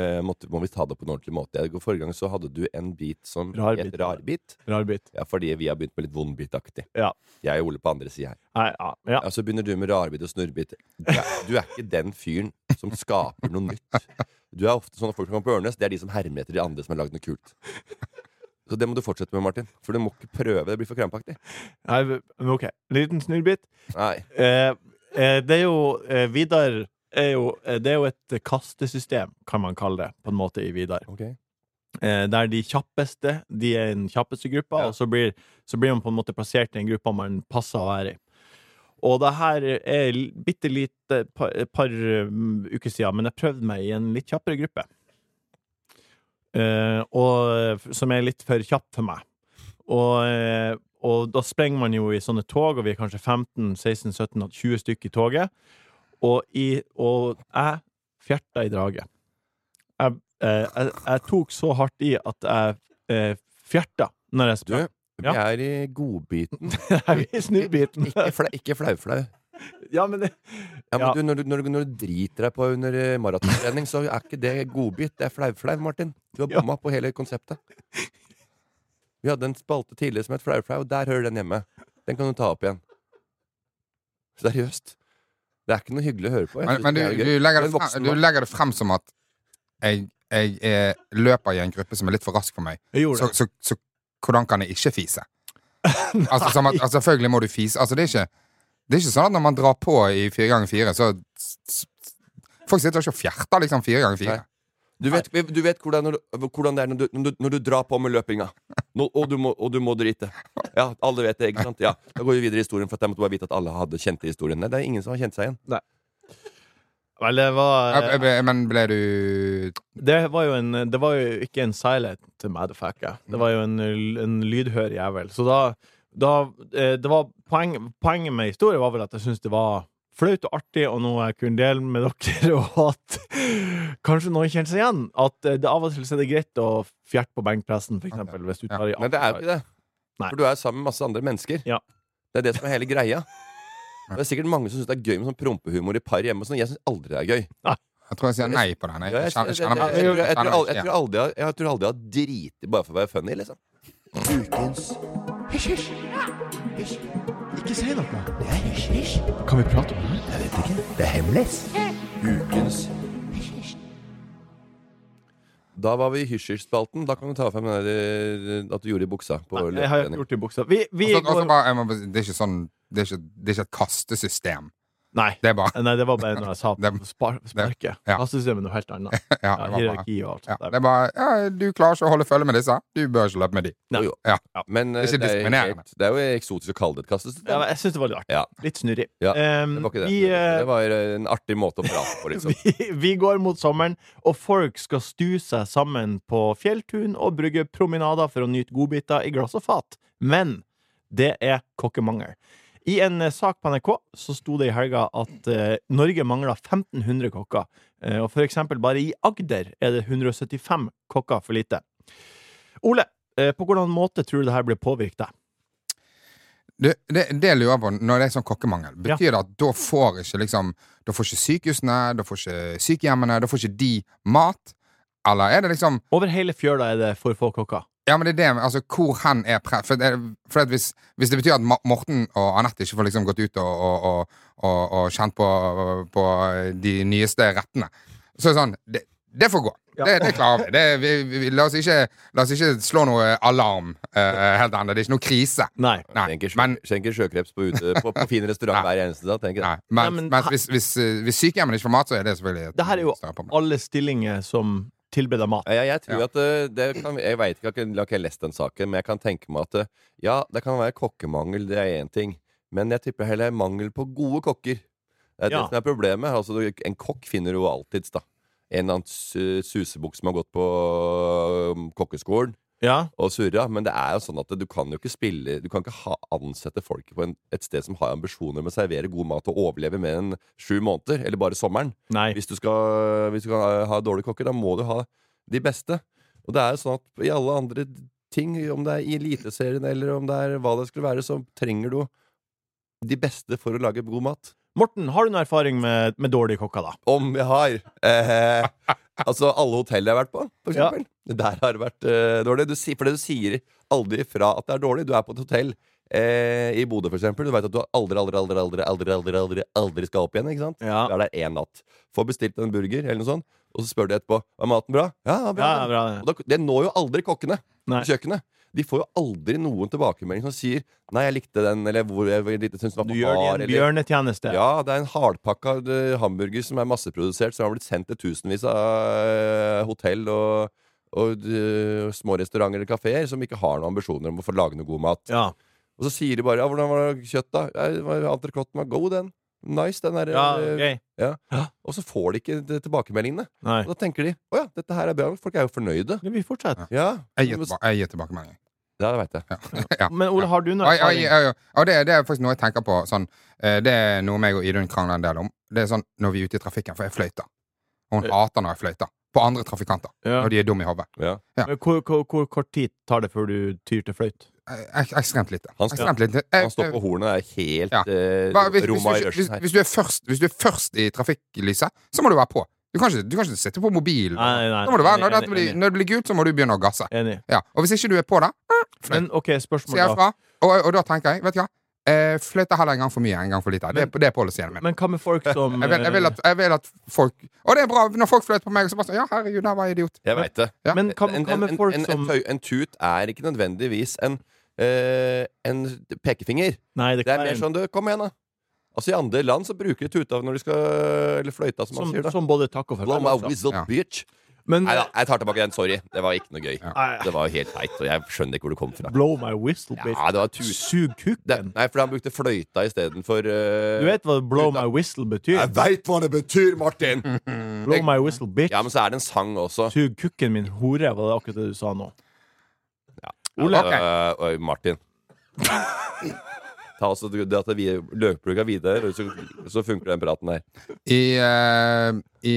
B: Eh, måtte, må vi ta det på en ordentlig måte? Jeg- Forrige gang så hadde du en bit som
A: Rarbit.
B: het rarbit.
A: rarbit.
B: Ja, fordi vi har begynt med litt vondbitaktig.
A: Ja.
B: Jeg og Ole på andre sida her.
A: Nei, ja, ja.
B: Ja, så begynner du med rarbit og snurrbit. Du er, du er ikke den fyren som skaper noe nytt. Du er ofte sånn at folk som kommer på Ørnes, det er de som hermer etter de andre som har lagd noe kult. Så det må du fortsette med, Martin. For du må ikke prøve. Det blir for krampaktig.
A: Nei, men OK. Liten snurrbit.
B: Nei.
A: Eh, eh, det er jo eh, Vidar er jo, eh, Det er jo et kastesystem, kan man kalle det, på en måte, i Vidar.
B: Ok.
A: Eh, der de kjappeste De er i den kjappeste gruppa,
B: Ja.
A: og så blir, så blir man på en måte plassert i en gruppe man passer å være i. Og det her er bitte lite et par, et par um, uker siden, men jeg prøvde meg i en litt kjappere gruppe. Eh, og, som er litt for kjapp for meg. Og, eh, og da sprenger man jo i sånne tog, og vi er kanskje 15-16-17-20 stykker i toget. Og, i, og jeg fjerta i draget. Jeg, eh, jeg, jeg tok så hardt i at jeg eh, fjerta når jeg
B: Du,
A: sprang.
B: vi er i godbiten.
A: Jeg vil snu biten.
B: Ikke flau- Ikke flau-flau.
A: Ja, men det,
B: Ja, men
A: Ja.
B: Du, når, du, når, du, når du driter deg på under eh, maratontrening, så er ikke det godbit. Det er flau-flau, Martin. Du har
A: Ja.
B: bomma på hele konseptet. Vi hadde en spalte tidligere som het flau-flau, og der hører den hjemme. Den kan du ta opp igjen. Seriøst. Det er ikke noe hyggelig å høre på. Jeg
C: Men,
B: synes
C: men du,
B: det er gøy.
C: du, legger
B: Du er
C: det
B: en
C: frem,
B: voksen
C: du
B: mann.
C: legger det frem som at jeg, jeg eh, løper i en gruppe som er litt for rask for meg.
A: jeg gjorde
C: Så,
A: det.
C: så, så hvordan kan jeg ikke fise? Altså, som at, altså Selvfølgelig må du fise. Altså, det, er ikke, det er ikke sånn at når man drar på i fire ganger fire, så s- s- Folk sitter ikke og fjerter liksom fire ganger fire.
B: Nei. Du vet, du vet hvordan, når du- hvordan det er når du, når, du, når du drar på med løpinga. Nå, og, du må, og du må drite. Ja, alle vet det, ikke sant? Ja, Da går vi videre i historien, for at jeg måtte bare vite at alle hadde kjente historien. Nei, det er ingen som har kjent seg igjen.
A: Vel, det var eh,
C: Eh, eh, Men ble du
A: Det var jo, en, det var jo ikke en silent madfucker. Det var jo en, en lydhør jævel. Så da, da eh, det var poeng, Poenget med historien var vel at jeg syntes det var flaut og artig, og noe jeg kunne dele med dere, og at kanskje noen kjenner seg igjen. At eh, det av og til så er det greit å fjerte på benkpressen, for eksempel, hvis du tar i
B: Nei, det er jo ikke det.
A: Nei.
B: For du er jo sammen med masse andre mennesker.
A: Ja.
B: Det er det som er hele greia. Det er sikkert mange som syns det er gøy med sånn prompehumor i par hjemme. og Sånn. Jeg syns aldri det er gøy.
C: Jeg tror jeg sier nei på den. Jeg,
B: Ja, jeg,
C: kjenner-
B: jeg, jeg, jeg,
C: kjenner-
B: tror- jeg, tror
C: kjenner
B: aldri-
C: meg
B: jeg
C: ikke
B: tror aldri jeg- jeg tror aldri jeg har driti bare for å være funny, liksom.
A: Ikke si noe! Kan vi prate om det? Jeg vet ikke. Det er hemmelig.
B: Da var vi i hysj-hysj-spalten. Da kan du ta frem den der eh, at du gjorde i buksa. På
A: Jeg har
B: løpetrening.
A: gjort det i buksa. Vi, vi
B: Altså,
C: igjen. Også- også
A: går
C: bare- jeg må bare si, Det er ikke sånn Det er ikke, det er ikke et kastesystem.
A: Nei.
C: Det er bare
A: Nei, det var bare når jeg sa
C: Det-
A: spar, sparke.
C: ja.
A: Kastesystemet er noe helt annet.
C: Ja,
A: Ja,
C: det var bare,
A: hierarki og alt
C: ja,
A: sånt
C: det
A: der.
C: er bare ja, Du klarer ikke å holde følge med disse. Du bør ikke løpe med de.
B: Jo, jo.
C: Ja.
B: Men eh,
C: Det er ikke
B: det er,
C: diskriminerende.
B: helt, det er jo eksotisk å kalle det et kastesystem.
A: Ja, men jeg syns det var litt artig.
B: Ja.
A: Litt snurrig.
B: Ja,
A: Ehm,
B: Det var ikke det.
A: Vi,
B: Det var eh, en artig måte å prate på, liksom.
A: eh, vi, vi går mot sommeren, og folk skal stue seg sammen på fjelltun og brygge promenader for å nyte godbiter i glass og fat. Men det er kokkemangel. I en eh, sak på NRK så sto det i helga at eh, Norge mangler 1500 kokker. Eh, og for eksempel bare i Agder er det 175 kokker for lite. Ole, eh, på hvordan måte tror du det her blir påvirket deg?
C: Du, det, det jeg lurer på, når det er sånn kokkemangel, betyr det at da får ikke liksom Da får ikke sykehusene, da får ikke sykehjemmene, da får ikke de mat? Eller er det liksom
A: Over hele fjøla er det for få kokker.
C: Ja, men det er det altså, Hvor hen er pre... For, det, for at hvis, hvis det betyr at Ma- Morten og Anette ikke får liksom gått ut og, og, og, og, og kjent på, på de nyeste rettene, så er det sånn Det, det får gå.
A: Ja.
C: Det, det klarer vi. Det, vi, vi la, oss ikke, la oss ikke slå noe alarm eh, helt ennå. Det er ikke noe krise.
A: Nei.
C: Nei,
B: Skjenker sjø-
C: men-
B: Skjenker sjøkreps på, ute, på, på fin restaurant hver eneste dag. Tenker jeg.
C: Nei, men,
A: Nei, men
C: men
A: ha-
C: hvis, hvis, eh, hvis sykehjemmene ikke får mat, så er det selvfølgelig et
A: Det her er jo
C: større problem.
A: alle stillinger som tilbyr deg mat.
B: Ja, jeg tror
C: Ja.
B: at eh, det kan, Jeg vet ikke, jeg har ikke- jeg har ikke lest den saken, men jeg kan tenke meg at eh, ja, det kan være kokkemangel, det er én ting, men jeg tipper heller mangel på gode kokker. Det er
A: Ja.
B: det som er problemet. Altså, du- en kokk finner du jo alltids, da. En eller annen su- susebukk som har gått på um, kokkeskolen
A: Ja.
B: og surra, men det er jo sånn at du kan jo ikke spille Du kan ikke ha, ansette folk på en, et sted som har ambisjoner med å servere god mat og overleve mer enn sju måneder, eller bare sommeren.
A: Nei.
B: Hvis du skal, hvis du skal ha- ha dårlige kokker, da må du ha de beste. Og det er jo sånn at i alle andre ting, om det er i Eliteserien eller om det er hva det skulle være, så trenger du de beste for å lage god mat.
A: Morten, har du noe erfaring med, med dårlige kokker, da?
B: Om jeg har eh, Altså, alle hotell jeg har vært på, for
A: Ja.
B: eksempel. Der har det vært eh, dårlig. Du, sier- for det du sier aldri fra at det er dårlig. Du er på et hotell eh, i Bodø, for eksempel. Du veit at du aldri, aldri, aldri, aldri, aldri, aldri, aldri, aldri skal opp igjen, ikke sant?
A: Ja.
B: Du er der én natt. Får bestilt en burger, eller noe sånt, og så spør de etterpå Var maten bra. Ja, ja, bra.
A: Ja, bra, ja.
B: Og da, det når jo aldri kokkene på
A: Nei.
B: kjøkkenet. De får jo aldri noen tilbakemelding som sier 'Nei, jeg likte den', eller 'Hvor jeg, jeg syns den var
A: Du
B: for
A: gjør det i
B: hard',
A: en
B: eller
A: bjørnetjeneste.
B: ja, det er en hardpakka eh, hamburger som er masseprodusert, som har blitt sendt til tusenvis av eh, hotell og, og eh, små restauranter eller kafeer som ikke har noen ambisjoner om å få lage noe god mat.
A: Ja.
B: Og så sier de bare 'ja, hvordan var kjøttet', da? Ja, det var- Entrecôten var god, den. Nice, den der.
A: ja
B: eh,
A: ok.
B: Og så får de ikke de tilbakemeldingene.
A: Nei.
B: Og da tenker de 'å ja, dette her er bra', folk er jo fornøyde.
A: Men Vi fortsetter.
B: Ja,
C: Jeg gir tilba- jeg gir tilbakemelding.
B: ja det veit jeg.
C: Ja.
A: Men Ole, har du noe
C: Oi, oi,
A: erfaring?
C: oi, oi. Og det, det er faktisk noe jeg tenker på. Sånn, eh, det er noe meg og Idun krangler en del om. Det er sånn når vi er ute i trafikken, for jeg fløyter. Og
A: Eh.
C: hun hater når jeg fløyter. På andre trafikanter.
A: Ja.
C: Når de er dumme i hodet. ja.
A: Men Hvor, hvor, hvor kort tid tar det før du tyr til fløyt?
C: Eh, ek- Ekstremt lite.
B: Han-
C: Ekstremt lite. Eh,
B: Han står på
C: eh,
B: hornet og er helt
C: Ja.
B: eh,
C: hva- hvis, hvis,
B: Roma i
C: du, ikke- hvis,
B: rushen her.
C: hvis, du er først, hvis du er først i trafikklyset, så må du være på. Du kan ikke, du kan ikke sitte på mobilen.
A: Nei, nei,
C: Da må du være,
A: enig,
C: når, dette
A: enig,
C: blir,
A: enig.
C: når det blir gult, så må du begynne å gasse.
A: Enig.
C: Ja. Og hvis ikke du er på det,
A: Men OK,
C: sier jeg
A: spørsmål da.
C: fra. Og, og da tenker jeg, vet du hva eh, Fløyter heller en gang for mye enn en gang for lite. Det, er- det er policyen min.
A: Men hva med folk som
C: Jeg vil, jeg, vil at, jeg vil at folk Og det er bra når folk fløyter på meg. Så bare sånn, ja, herregud, der var jeg idiot.
B: Jeg veit det.
C: Ja.
A: Men hva, hva med folk
B: en,
A: som
B: en, tøy- en tut er ikke nødvendigvis en, eh, en pekefinger.
A: Nei, det
B: Det er
A: kan
B: mer
A: være
B: sånn du, kom igjen, da. Altså I andre land så bruker de tuta når de skal Eller fløyta, som,
A: som, Mm.
B: man sier. da
A: som både takk og
B: Blow my
A: farvel.
B: whistle,
C: Ja.
B: bitch.
A: Men
B: Nei da, jeg tar tilbake den. Sorry. Det var ikke noe gøy.
A: Nei.
B: Det var jo helt teit, og jeg skjønner ikke hvor det kom fra.
A: blow my whistle, bitch.
B: Ja, det var tus det,
A: Sug kukken.
B: Nei, for han brukte fløyta istedenfor uh,
A: Du vet hva blow my whistle betyr?
B: Jeg veit hva det betyr, Martin!
A: Mm. Blow my whistle, bitch.
B: Ja, men så er det en sang også.
A: Sug kukken min, hore, var det akkurat det du sa nå.
C: Ole.
B: Ja, øh, øh, Martin. Ta også det at vi løkplugga videre, så, så funker den praten der.
C: I, eh, i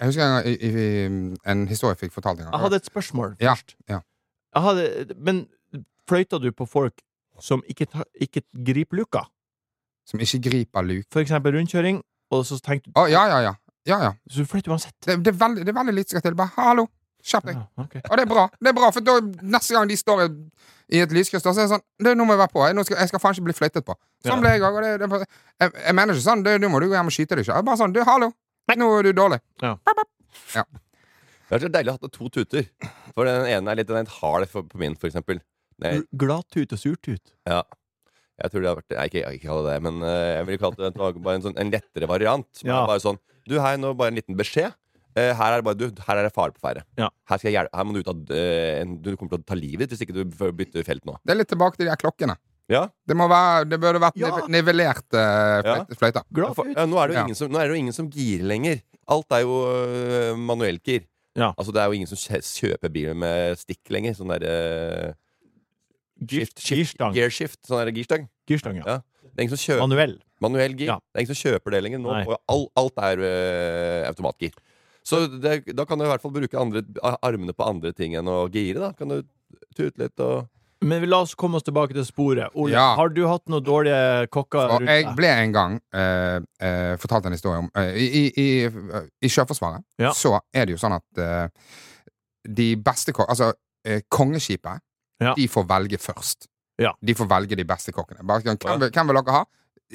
C: Jeg husker en, gang, i, i, en historie jeg fikk fortalt en gang.
A: Jeg Ah, hadde et spørsmål
C: Ja,
A: først.
C: ja.
A: Jeg hadde, men fløyta du på folk som ikke, ta, ikke griper luka?
C: Som ikke griper luk.
A: For eksempel rundkjøring, og så tenkte du
C: Å, ja, ja, ja. ja, ja.
A: Så du fløyt uansett?
C: Det, det, er veldig, det er veldig lite som skal til. Bare 'hallo, skjerp deg'.
A: Ja, ok.
C: Og det er bra. det er bra, For da, neste gang de står i et lyskryss, da, så er det sånn det, 'Nå må jeg være på. Jeg, nå skal, jeg skal faen ikke bli flyttet på.'
A: Ja.
C: Sånn ble jeg òg. Jeg, jeg, jeg mener ikke sånn. Det, 'Nå må du gå hjem og skyte deg sjøl.' Bare sånn 'Du, hallo. Nå er du dårlig.'
B: Det er så deilig å ha to tuter. For den ene er litt, den er litt hard for, på min, for eksempel. Nei,
A: Gladtut og surtut.
B: ja. Jeg tror det har vært Nei, ikke, jeg vil ikke kalle det det, men øh, jeg ville kalt det en, bare en, sånn, en lettere variant. Som
A: Ja.
B: er bare sånn Du, hei, nå bare en liten beskjed. Eh, her er det bare du, her er det fare på ferde.
A: Ja.
B: Her, skal jeg hjelpe, her må du ut av øh, en, Du kommer til å ta livet ditt hvis ikke du f- bytter felt nå.
C: Det er litt tilbake til de her klokkene.
B: Ja?
C: Det, må være, det burde vært
A: Ja.
C: nive- nivellert eh,
B: Ja.
C: fløy- fløyter.
B: For,
A: Gladtut.
B: ja, nå, er det jo
C: Ja.
B: ingen som, nå er det jo ingen som girer lenger. Alt er jo øh, manuellgir.
A: Ja.
B: Altså, det er jo ingen som kjø- kjøper bil med stikk lenger. Sånn der øh, skift-
A: Gift-
B: skift-
A: Girstang.
B: Gearshift. Sånn der girstang.
A: Girstang, ja.
B: Ja. Det er ingen som kjøper
A: Manuell.
B: manuell gir.
A: Ja.
B: Det er ingen som kjøper det lenger. Nå,
A: Nei.
B: og all, alt er øh, automatgir. Så det, da kan du i hvert fall bruke andre, armene på andre ting enn å gire. da Kan du tute litt og
A: Men la oss komme oss tilbake til sporet. Ole,
C: Ja.
A: har du hatt noen dårlige kokker
C: Og
A: rundt
C: jeg
A: deg?
C: ble en gang eh, eh, fortalt en historie om eh, i, i, i, I Sjøforsvaret
A: Ja.
C: så er det jo sånn at eh, de beste kokkene Altså, eh, kongeskipet,
A: Ja.
C: de får velge først.
A: Ja.
C: De får velge de beste kokkene. Bare, sånn,
B: Ja.
C: hvem, vil- hvem vil dere ha?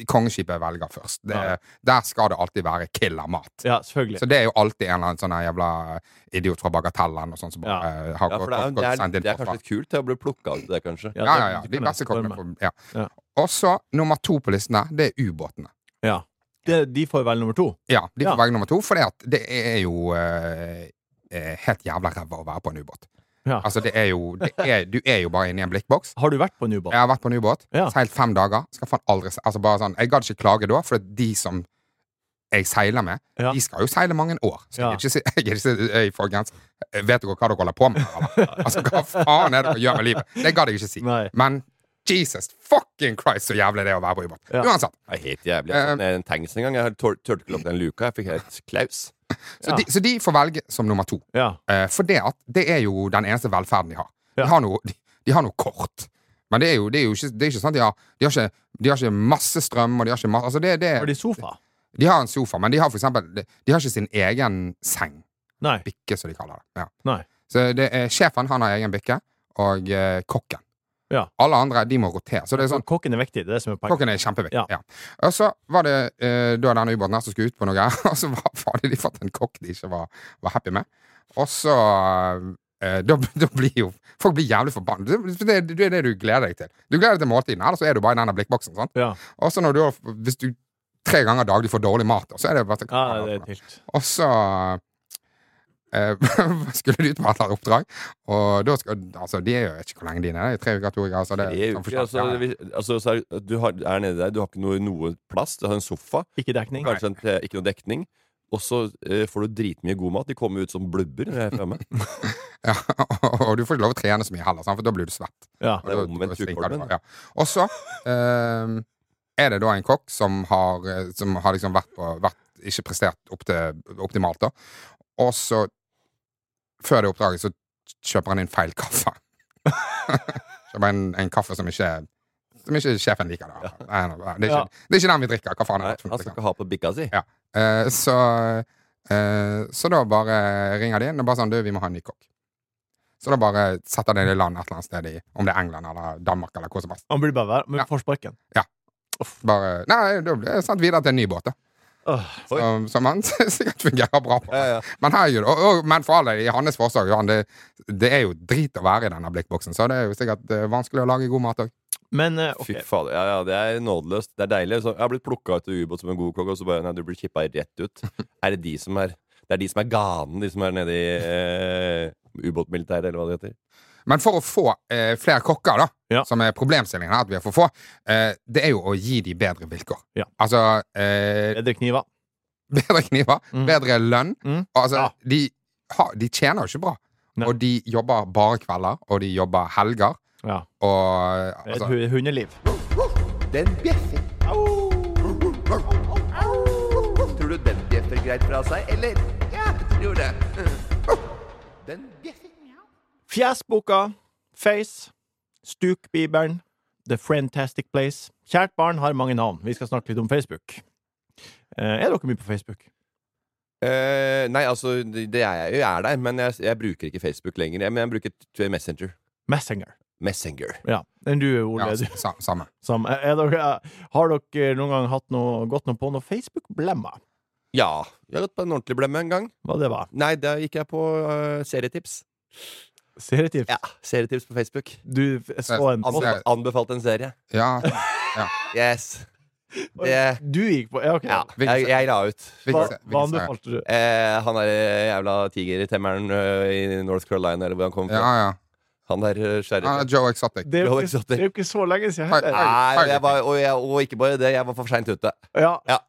C: Kongeskipet velger først. Det,
A: Ja.
C: Der skal det alltid være killer-mat.
A: Ja, selvfølgelig.
C: Så det er jo alltid en eller annen sånn her jævla idiot fra Bagatellen og sånn som bare eh, har
B: Ja, for det er,
C: gått-
B: det
C: gått
B: er,
C: sendt inn
B: det er
C: forsvar.
B: kanskje litt kult til å bli plukka ut, det, kanskje.
C: Ja,
A: det-
C: ja, ja.
A: det
C: De
A: kan jeg
C: beste kokkene
A: spørre meg.
C: får ja.
A: Ja.
C: Og så, nummer to på listen her, det er ubåtene.
A: Ja. Det, de får vel nummer to.
C: Ja, de får
A: Ja.
C: velge nummer to, for det er jo eh, eh, helt jævla ræva å være på en ubåt.
A: Ja.
C: Altså, det er jo det er, Du er jo bare inne i en blikkboks.
A: Har du vært på en ubåt?
C: Jeg har vært på en ubåt
A: Ja.
C: seilt fem dager. Skal faen aldri se- Altså bare sånn Jeg gadd ikke klage da, for de som jeg seiler med,
A: Ja.
C: de skal jo seile mange år. Så
A: Ja.
C: jeg gidder ikke si, jeg gidder ikke si «Øy, folkens, vet dere hva dere holder på med? Eller? Altså, hva faen er det dere gjør med livet? Det gadd jeg ikke si.
A: Nei.
C: Men Jesus fucking Christ, så jævlig det er å være på ubåt.
A: Ja.
C: Uansett.
B: Det er helt jævlig. Jeg satt ned en tanks en gang. Jeg tør- turte ikke å lukke den luka. Jeg fikk helt klaus.
C: Så,
A: Ja.
C: de, så de får velge som nummer to.
A: Ja.
C: Eh, for det, at, det er jo den eneste velferden de har.
A: Ja.
C: De, har noe, de, de har noe kort. Men det er jo, det er jo ikke, det er ikke sant. De har, de, har ikke, de har ikke masse strøm, og de har ikke masse altså det, det,
A: Har
C: de,
A: de sofa?
C: har en sofa, men de har for eksempel De, de har ikke sin egen seng.
A: Nei.
C: Bikke, som de kaller det. Ja.
A: Nei.
C: Så det er sjefen, han har egen bikke, og eh, kokken.
A: Ja.
C: Alle andre, de må rotere. Så det er sånn
A: Så Kokken er viktig. Det er det som er poenget.
C: Klokken er kjempeviktig.
A: Ja.
C: Ja. Og så var det eh, da denne ubåten her som skulle ut på noe, her, og så var, hadde de fått en kokk de ikke var, var happy med. Og så eh, da, da blir jo Folk blir jævlig forbannet. Det, det, det er det du gleder deg til. Du gleder deg til måltiden, eller så er du bare i denne blikkboksen. sånn. Sant?
A: Ja.
C: Og så når du har- hvis du tre ganger daglig får dårlig mat, så er det bare sånn,
A: ja, det er tilt.
C: og så eh, skulle de ut på et eller annet oppdrag, og da skal Altså, de er jo jeg vet ikke hvor lenge de er nede. Tre uker, to uker, altså. Det,
B: Tre
C: er sånn
B: uker.
C: forskjellig.
B: Altså,
C: Ja, ja.
B: hvis- altså, så er, du har, er nede der, du har ikke noe, noe plass. Du har en sofa,
A: Ikke dekning.
B: kanskje en, te- ikke noe dekning. Og så eh, får du dritmye god mat. De kommer ut som blubber. når jeg er fremme.
C: Ja, og du får ikke lov å trene så mye heller, sant, for da blir du svett.
A: Ja.
B: Det er
C: Og da-
B: omvendt
C: da stinker
B: tjukkolmen.
C: det bare, Ja. Og så ehm, er det da en kokk som har, eh, som har liksom vært på vært, Ikke prestert opp til optimalt, da. Og så, før det oppdraget, så kjøper han inn feil kaffe. kjøper en, en kaffe som ikke Som ikke sjefen liker. Da. Nei, nei, det, er
A: Ja.
C: ikke, det er ikke den vi drikker. Hva faen
B: Nei,
C: er
B: han
C: det? liksom?
B: skal ikke ha på bikka si.
C: Ja. Eh, så, eh, så da bare ringer de inn og bare sånn Du, vi må ha en ny kokk. Så da bare setter de det i land et eller annet sted, i, om det er England eller Danmark eller hvor som helst.
A: Han blir bare vær, men
C: Ja.
A: får sparken.
C: Bare, nei, da blir jeg sendt videre til en ny båt, da.
A: Åh,
B: Oi.
C: Som, som han sikkert fungerer bra på.
B: Ja, ja.
C: Men, her, er jo det- og, og, men for alle, i hans forslag, Johan, det, det er jo drit å være i denne blikkboksen, så det er jo sikkert eh, vanskelig å lage god mat òg.
A: Men eh, ok.
B: Fy fader. Ja, ja, det er nådeløst. Det er deilig. Så jeg har blitt plukka ut av ubåt som en god kokk, og så bare Nei, du blir kippa rett ut. Er det de som er Det er de som er ganen, de som er nede i eh, ubåtmilitæret, eller hva det heter.
C: Men for å få eh, flere kokker, da,
A: Ja.
C: som er problemstillingen her, at vi er for få, eh, det er jo å gi de bedre vilkår.
A: Ja.
C: Altså eh,
A: Er det kniver?
C: bedre kniver,
A: Mm.
C: bedre lønn.
A: Mm.
C: Altså,
A: Ja.
C: de, har- de tjener jo ikke bra.
A: Nei.
C: Og de jobber bare kvelder, og de jobber helger.
A: Ja.
C: Og
A: Et
C: altså,
A: hu- hundeliv.
D: Den bjeffer. Au! Au! Tror du den bjeffer greit fra seg, eller? Ja, jeg tror det. Den bjeffer.
A: Fjesboka, Face, Stukbibelen, The Friendtastic Place. Kjært barn har mange navn. Vi skal snakke litt om Facebook. Eh, Er dere mye på Facebook?
B: Eh, nei, altså, det det er jeg jo. Jeg er der, men jeg, jeg bruker ikke Facebook lenger. Jeg, men jeg bruker t- Messenger.
A: Messenger.
B: Messenger.
A: Ja. Den du, Ole.
C: ja, altså.
A: du,
C: sa, samme.
A: som, er dere, har dere noen gang hatt noe, gått noe på noe Facebook-blemma?
B: Ja. Jeg har gått på en ordentlig blemme en gang.
A: Hva det var?
B: Nei, da gikk jeg på eh, serietips.
A: Serietips?
B: Ja, Serietips på Facebook.
A: Du f- så en
C: altså,
A: post?
B: Anbe anbefalt en serie.
C: Ja,
B: Yes. Det
A: Du gikk på Ja, ok.
B: Ja. Jeg, jeg la ut.
A: Hva,
C: hvilken se-
A: hva
C: hvilken serie?
A: anbefalte du?
B: Eh, han der eh, jævla tigertemmeren eh, i North Carolina, eller hvor han kom fra.
C: Ja, ja.
B: Han der eh,
C: ja
B: sheriffen.
C: Joe Exotic.
A: Det er jo
B: Joe
A: ikke,
B: Exotic.
A: det er jo ikke så lenge siden.
C: Hei,
A: heller.
C: hei.
B: Nei, og, jeg var, og, jeg, og ikke bare det, jeg var for seint ute.
A: Ja.
B: Ja.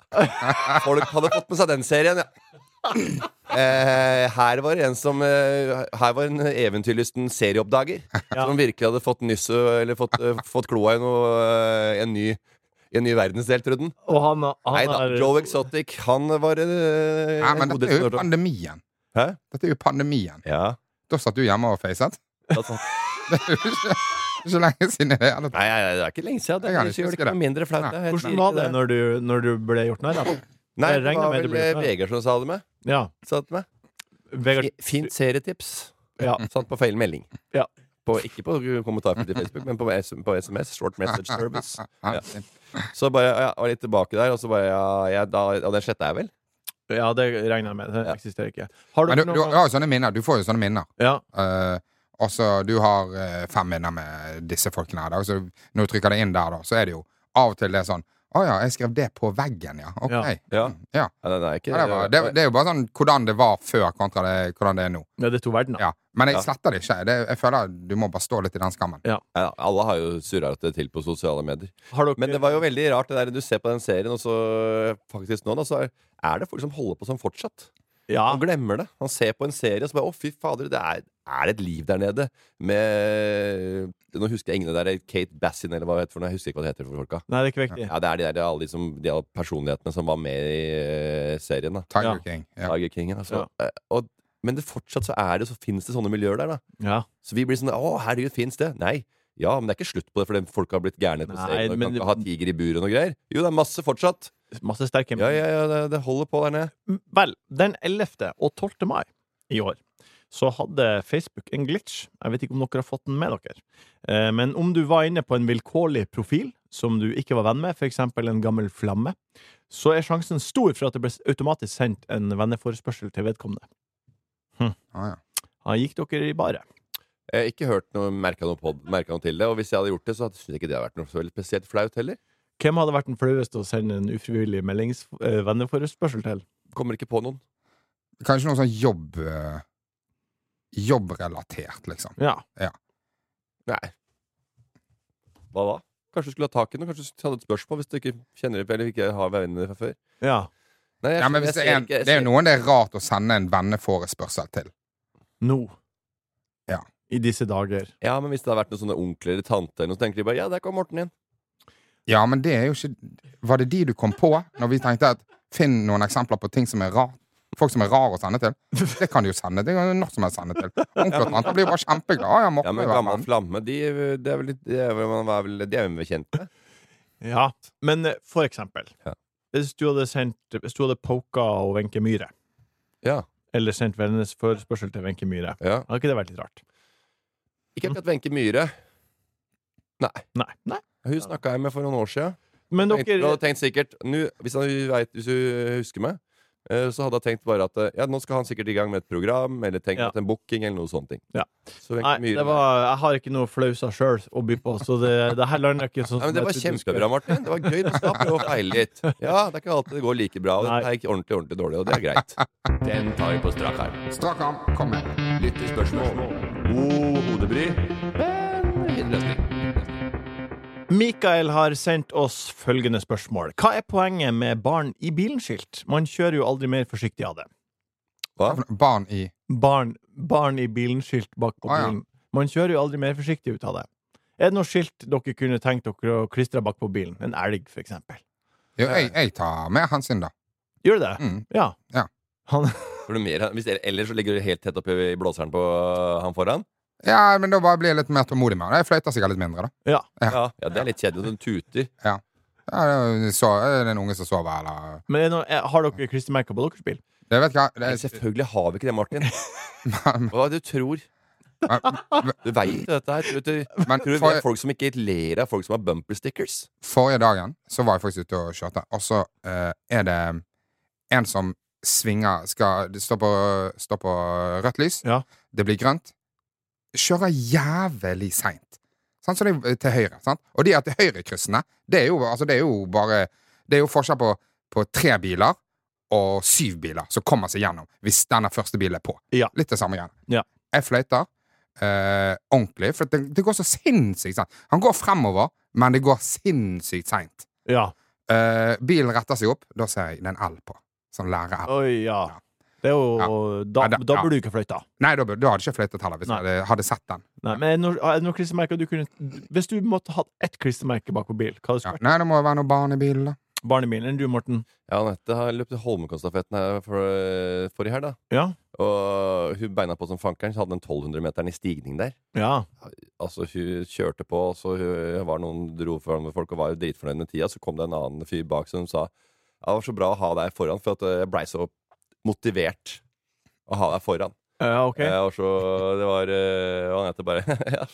B: Folk hadde fått med seg den serien, ja. Eh, her var en som eh, Her var en eventyrlysten serieoppdager.
A: Ja.
B: Som virkelig hadde fått nyss eh, Eller fått, eh, fått kloa i noe, eh, en, ny, en ny verdensdel, trodde han.
A: Og han, han
B: Nei da,
A: er-
B: Joe Exotic, han var eh,
C: Nei,
B: en
C: men dette
B: godeste
C: er jo
B: nordmann.
C: pandemien.
B: Hæ?
C: Dette er jo pandemien.
B: Ja.
C: Da satt du hjemme og facet.
B: Altså,
C: Det er jo ikke, ikke lenge siden i det hele tatt.
B: nei, nei, det er ikke lenge siden. Det, er,
C: Jeg
B: det
C: kan ikke
B: gjør det
C: huske
B: ikke noe mindre flaut.
C: Nei.
B: det er helt
A: Hvordan var det
B: riktig,
A: når du, når du ble gjort narr av?
B: Nei,
A: Jeg
B: det
A: regner
B: var
A: med det
B: vel
A: blir
B: eh,
A: flaut.
B: Vegard som sa det med.
A: Ja.
B: Sa det til meg.
A: Vegard,
B: Fi- Fint serietips.
A: Ja.
B: Satt på feil melding.
A: Ja.
B: På, ikke på kommentarfelt i Facebook, men på, S på SMS. Short Message Service.
C: Ja.
B: Ja. Så bare, ja, jeg var litt tilbake der, og så bare ja, jeg, da, ja, den sjette er vel?
A: ja, det regner jeg med. Det
B: Ja.
A: eksisterer ikke. Har
C: Men du,
A: dere noen
C: du,
A: gang
C: har jo sånne minner. Du får jo sånne minner.
A: Ja.
C: Eh, og så du har eh, fem minner med disse folkene her. Da. Så når du trykker det inn der, da, så er det jo av og til det er sånn Å ja, jeg skrev det på veggen, ja. Ok.
A: Ja.
B: Ja.
C: Mm, ja.
B: Ja, den er ikke
C: Ja, det, var, det, det er jo bare sånn hvordan det var før, kontra det, hvordan det er nå.
A: Ja, det er to verdener.
C: Ja. Men
B: Ja.
C: jeg sletter det ikke. Det, jeg føler du må bare stå litt i den skammen.
B: Ja, Alle har jo surra det til på sosiale medier.
A: Har dere
B: Men det var jo veldig rart, det der du ser på den serien, og så faktisk nå, da, så er- er det folk som holder på som fortsatt.
A: ja.
B: Han glemmer det. Han ser på en serie og så bare Å, fy fader, det er, er det et liv der nede? Med Nå husker jeg ingen av det der Kate Bassin, eller hva det heter for noe. Jeg husker ikke hva det heter for folka.
A: Nei, det er ikke viktig.
B: Ja, det er de der, alle de, som, de alle personlighetene som var med i eh, serien, da.
C: Tiger
A: Ja.
C: King. Ja.
B: Tiger King, altså. Eh, Og, men det fortsatt så er det, så finnes det sånne miljøer der, da.
A: Ja.
B: Så vi blir sånn Å, herregud, fins det? Nei. Ja, men det er ikke slutt på det, fordi folk har blitt gærne på
A: Nei,
B: serien og
A: men
B: kan
A: det-
B: ikke ha tiger i bur og noe greier. Jo, det er masse fortsatt.
A: Masse sterke
B: Ja, ja, ja, det, det holder på der nede.
A: Vel, den 11. og 12. mai i år så hadde Facebook en glitch. Jeg vet ikke om dere har fått den med dere. Eh, Men om du var inne på en vilkårlig profil som du ikke var venn med, f.eks. en gammel flamme, så er sjansen stor for at det ble automatisk sendt en venneforespørsel til vedkommende.
C: Ah, ja.
A: Ja, gikk dere i baret?
B: Jeg har ikke hørt noe, merka noe, på- merket noe til det. Og hvis jeg hadde gjort det, så hadde- synes jeg ikke det hadde vært noe så veldig spesielt flaut heller.
A: Hvem hadde vært den flaueste å sende en ufrivillig meldings eh, venneforespørsel til?
B: Kommer ikke på noen.
C: Kanskje noe sånn jobb eh, Jobbrelatert, liksom.
A: Ja.
B: Nei. Hva da? Kanskje du skulle ha tak i noe? Kanskje du hadde et spørsmål hvis du ikke kjenner det eller ikke har venner fra før?
A: ja.
B: Nei, jeg,
C: Ja, men hvis
B: jeg
C: det,
B: ser
C: er en,
B: ikke- jeg
C: det
B: ser-
C: er jo noen det er rart å sende en venneforespørsel til.
A: Nå.
C: Ja.
A: I disse dager.
B: Ja, men hvis det hadde vært noen sånne onkler eller tante eller noe, så tenker de bare ja, der kom Morten igjen.
C: Ja, men det er jo ikke Var det de du kom på når vi tenkte at Finn noen eksempler på ting som er rar Folk som er rar å sende til? Det kan de jo sende. Det kan jo når som helst sende til. Onkler og tanter blir jo bare kjempeglade. Ah, ja, Morten
B: Ja, men
C: vil være
B: Gammel
C: med.
B: Flamme, de, det er vel litt De er vel, man er vel, de er vel kjent med?
A: Ja, men eh, for eksempel
B: Ja.
A: Hvis du hadde sendt Hvis du hadde poka og Wenche Myhre
B: Ja.
A: Eller sendt vennenes forespørsel til Wenche Myhre
B: ja.
A: Hadde ikke det vært litt rart?
B: Ikke akkurat Wenche Myhre.
A: Nei, nei
B: Hun snakka jeg med for noen år siden.
A: Men
B: Tenkte,
A: dere
B: og tenkte sikkert nå, hvis, han vet, hvis du husker meg Eh, Så hadde jeg tenkt bare at eh, ja, nå skal han sikkert i gang med et program, eller tenkt
A: Ja.
B: at en booking, eller noe sånt. ting.
A: Ja.
B: Så egentlig
A: Nei,
B: mye-
A: det var, jeg har ikke noe flauser sjøl å by på, så det, det her lander ikke sånn
B: Nei, men Det
A: som
B: var
A: jeg trodde
B: kjempebra, Martin. Det var gøy. Du skal prøve å feile litt. Ja, Det er ikke alltid det går like bra. Og
A: Nei.
B: det gikk ordentlig ordentlig dårlig, og det er greit.
D: Den tar vi på strak arm.
C: Strak arm, kom med.
D: Lyttespørsmål. God hodebry. Men løsning.
A: skulle. Mikael har sendt oss følgende spørsmål. Hva er poenget med barn i bilen-skilt? Man kjører jo aldri mer forsiktig av det.
B: Hva?
C: Barn i
A: Barn, barn i bilen-skilt bak på
C: Ah, ja.
A: bilen. Man kjører jo aldri mer forsiktig ut av det. Er det noe skilt dere kunne tenkt dere å klistre bak på bilen? En elg, for eksempel.
C: Jo, jeg, jeg tar med han sin, da.
A: Gjør det det?
C: Mm.
A: Ja.
C: Ja.
A: Han,
B: Får du mer? Hvis dere- Ellers så ligger du helt tett oppi i blåseren på han foran.
C: Ja, men da bare blir jeg litt mer tålmodig med han. Jeg fløyter sikkert litt mindre, da.
A: ja.
B: Ja, ja Det er litt kjedelig når du tuter.
C: Ja, det er jo så, er det en unge som sover, eller
A: Men er det noe, er, har dere klistremerker på deres bil?
C: Jeg vet hva
B: Nei,
C: det,
B: selvfølgelig har vi ikke det, Martin. Hva er det du tror? Du veit dette her. Tror du,
C: Men
B: tror du vi
C: for-
B: er folk som ikke ler av folk som har bumper stickers?
C: Forrige dagen så var jeg faktisk ute og kjørte, og så eh, er det en som svinger skal, det står, på, står på rødt lys,
A: Ja.
C: det blir grønt. Kjører jævlig seint. Sånn, så det er til høyre. Sant? Og de er til høyrekryssene. Det er jo, altså, det er jo bare Det er jo forskjell på, på tre biler og syv biler som kommer seg gjennom hvis denne første bilen er på.
A: Ja.
C: Litt det samme igjen.
A: Ja.
C: Jeg fløyter eh, ordentlig, for det, det går så sinnssykt seint. Han går fremover, men det går sinnssykt seint.
A: Ja.
C: Eh, bilen retter seg opp, da ser jeg det er en L på. Sånn lærer-L.
A: Oi, ja. Det er jo Da,
C: Ja, da-
A: da
C: ja.
A: burde du ikke fløyta.
C: Nei, da, burde- da hadde jeg ikke fløytet heller, hvis jeg hadde, hadde sett den.
A: Nei, men er det noe- er det noen klistremerker du kunne Hvis du måtte hatt ett klistremerke bak på bil, hva hadde det
C: Ja.
A: vært?
C: Nei, det må jo være noe barn i bilen, da.
A: Barnebilen? Eller du, Morten?
B: Ja, Anette har løpt Holmenkollstafetten her for, eh, forrige helg, da.
A: Ja.
B: Og hun beina på som fankeren, så hadde den 1200-meteren i stigning der.
A: Ja.
B: Altså, hun kjørte på, og så hun- var noen dro foran med folk og var jo dritfornøyd med tida. Så kom det en annen fyr bak som sa ja, det var så bra å ha deg foran, for at eh, jeg blei så motivert å ha deg foran.
A: Ja, OK.
B: Eh, og så det var eh, Og Anette bare ja,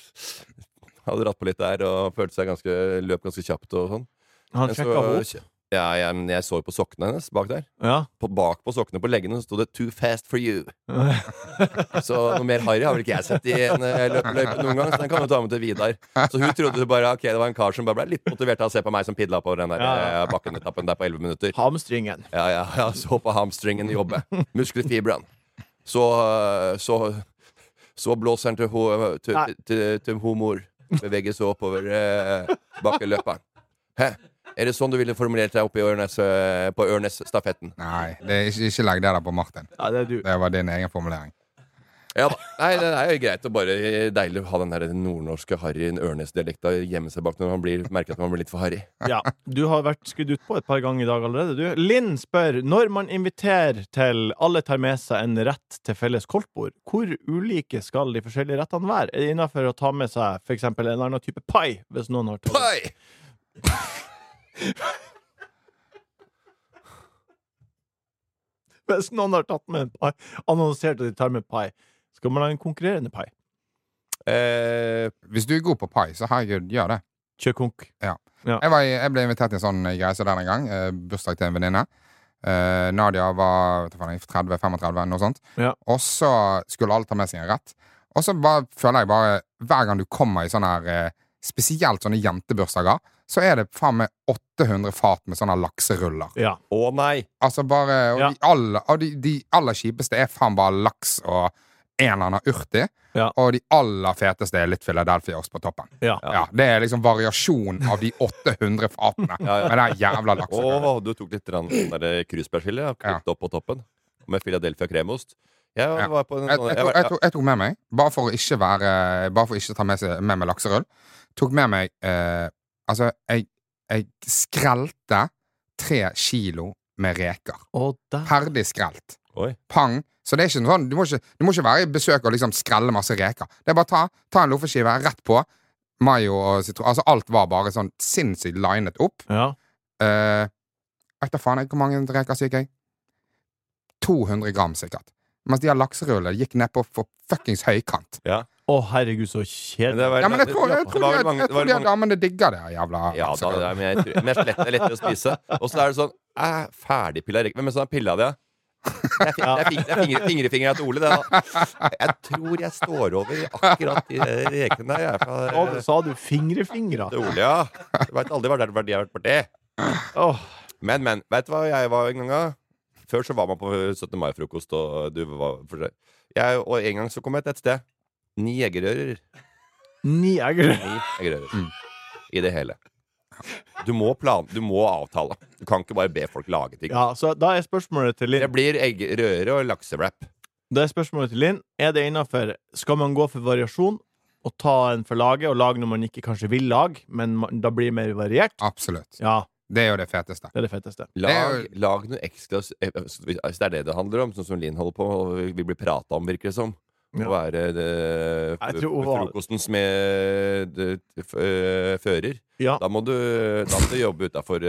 B: hadde dratt på litt der og følte seg ganske, løp ganske kjapt og sånn.
A: Han
B: Men så-
A: sjekka henne.
B: Ja, jeg, men jeg så jo på sokkene hennes bak der.
A: Ja.
B: På, bak på sokkene på leggene så sto det 'Too fast for you'. Så noe mer harry har vel ikke jeg sett i en eh, løpeløype noen gang. Så den kan du ta med til Vidar. Så hun trodde bare ok, det var en kar som bare ble litt motivert av å se på meg som pidla på den der
A: Ja, ja.
B: eh, bakkenetappen der på 11 minutter.
A: Hamstringen.
B: Ja, ja, ja, så på hamstringen jobbe. Muskelfibrene. Så, eh, så Så blåser den til, ho, til,
A: Nei.
B: til, til homor. Beveger seg oppover eh, bakkeløperen. Hæ? Er det sånn du ville formulert deg oppe i Ørnes, eh, på Ørnes-stafetten?
C: Nei, det er ikke, ikke legg det der på Martin.
A: Ja, det er du.
C: Det var din egen formulering.
B: Ja da. Nei, det er jo greit å bare deilig å ha den der nordnorske harry Ørnes-dialekta gjemme seg bak når man blir, merker at man blir litt for harry.
A: Ja. Du har vært skudd ut på et par ganger i dag allerede, du. Linn spør når man inviterer til alle tar med seg en rett til felles koldtbord, hvor ulike skal de forskjellige rettene være? Er det innafor å ta med seg f.eks. en eller annen type pai, hvis noen har tatt
B: Pai!
A: Hvis noen har tatt med en pai, annonsert at de tar med pai, skal man ha en konkurrerende pai.
B: Eh,
C: Hvis du er god på pai, så herregud, gjør det.
A: Kjør konk.
C: Jeg, var, i- jeg ble invitert til en sånn greie som den en gang. Eh, bursdag til en venninne. Eh, Nadia var 30-35, noe sånt.
A: Ja.
C: Og så skulle alle ta med seg en rett. Og så bare, føler jeg bare Hver gang du kommer i sånne her eh, Spesielt sånne jentebursdager, så er det faen meg 800 fat med sånne lakseruller.
A: Ja.
B: å nei!
C: Altså bare, og
A: Ja.
C: de, aller, og de, de aller kjipeste er faen bare laks og en eller annen urt i.
A: Ja.
C: Og de aller feteste er litt Philadelphia-ost på toppen.
A: Ja.
C: Ja. Det er liksom variasjon av de 800 fatene
B: Ja, ja.
C: med den jævla altså.
B: Å,
C: laksen.
B: du tok litt grann sånn der krusbærskille og klippet opp på toppen med Philadelphia kremost. Jeg
C: Ja.
B: var på en
C: Jeg,
B: sånn
C: jeg,
B: jeg
C: tok-
B: var-
C: jeg, tok- jeg tok med meg, bare for å ikke, være, bare for å ikke ta med, seg, med meg lakserull, tok med meg eh, Altså, jeg, jeg skrelte tre kilo med reker.
A: Og der
C: Ferdig skrelt.
B: Oi.
C: Pang. Så det er ikke noe sånn, du må ikke, du må ikke være i besøk og liksom skrelle masse reker. Det er bare ta, ta en loffeskive rett på. Mayo og sitron. Altså, alt var bare sånn sinnssykt linet opp.
A: Ja.
C: Eh, Vet da faen jeg hvor mange reker syk jeg? 200 gram, sikkert. Mens de har lakseruller gikk nedpå for fuckings høykant.
A: Å, herregud, så
B: Men det
A: kjedelig.
B: var-
C: Ja, men jeg tror, jeg
B: det
C: tror,
B: var vel
C: jeg,
B: mange-
C: jeg
B: det var
C: tror de
B: mange-
C: damene digger det jævla
B: Ja, da, det
C: lakserullet.
B: er, men jeg tror, men jeg slett, det er lettere å spise. Og så er det sånn eh, Ferdigpilla reker. Hvem er det som har pilla det? Det er fi- det er fing- det er fingre- fingrefingeren til Ole, det. da. Jeg tror jeg står over akkurat de rekene der. Jeg er fra
A: Og sa du fingrefingre?
B: til Ole, ja. Jeg veit aldri hva det er verdi har vært for det.
A: Åh,
B: Men, men. Vet du hva jeg var en gang? da? Før så var man på 17. mai-frokost, og du var for seg. Jeg, Og en gang så kom jeg til et sted. Ni jegerører.
A: ni egger.
B: Ni jegerører. I det hele. Du må, plan, du må avtale. Du kan ikke bare be folk lage ting.
A: Ja, så da er spørsmålet til
B: Det
A: Linn
B: blir eggerøre og laksewrap.
A: Da er spørsmålet til Linn Er det innenfor Skal man gå for variasjon Og ta en for laget Og lage når man ikke kanskje vil lage Men man, da blir det mer variert
C: Absolutt.
A: Ja,
C: Det er jo det feteste.
A: det er det fetteste
B: Lag, lag noe ekstra s- eh, s- Hvis det er det det handler om, sånn som Linn holder på og vil bli prata om, virker det som. Å
A: Ja.
B: være eh,
A: Jeg
B: f-
A: tror-
B: frokostens med eh, f- eh, fører.
A: Ja,
B: Da må du, da må du jobbe utafor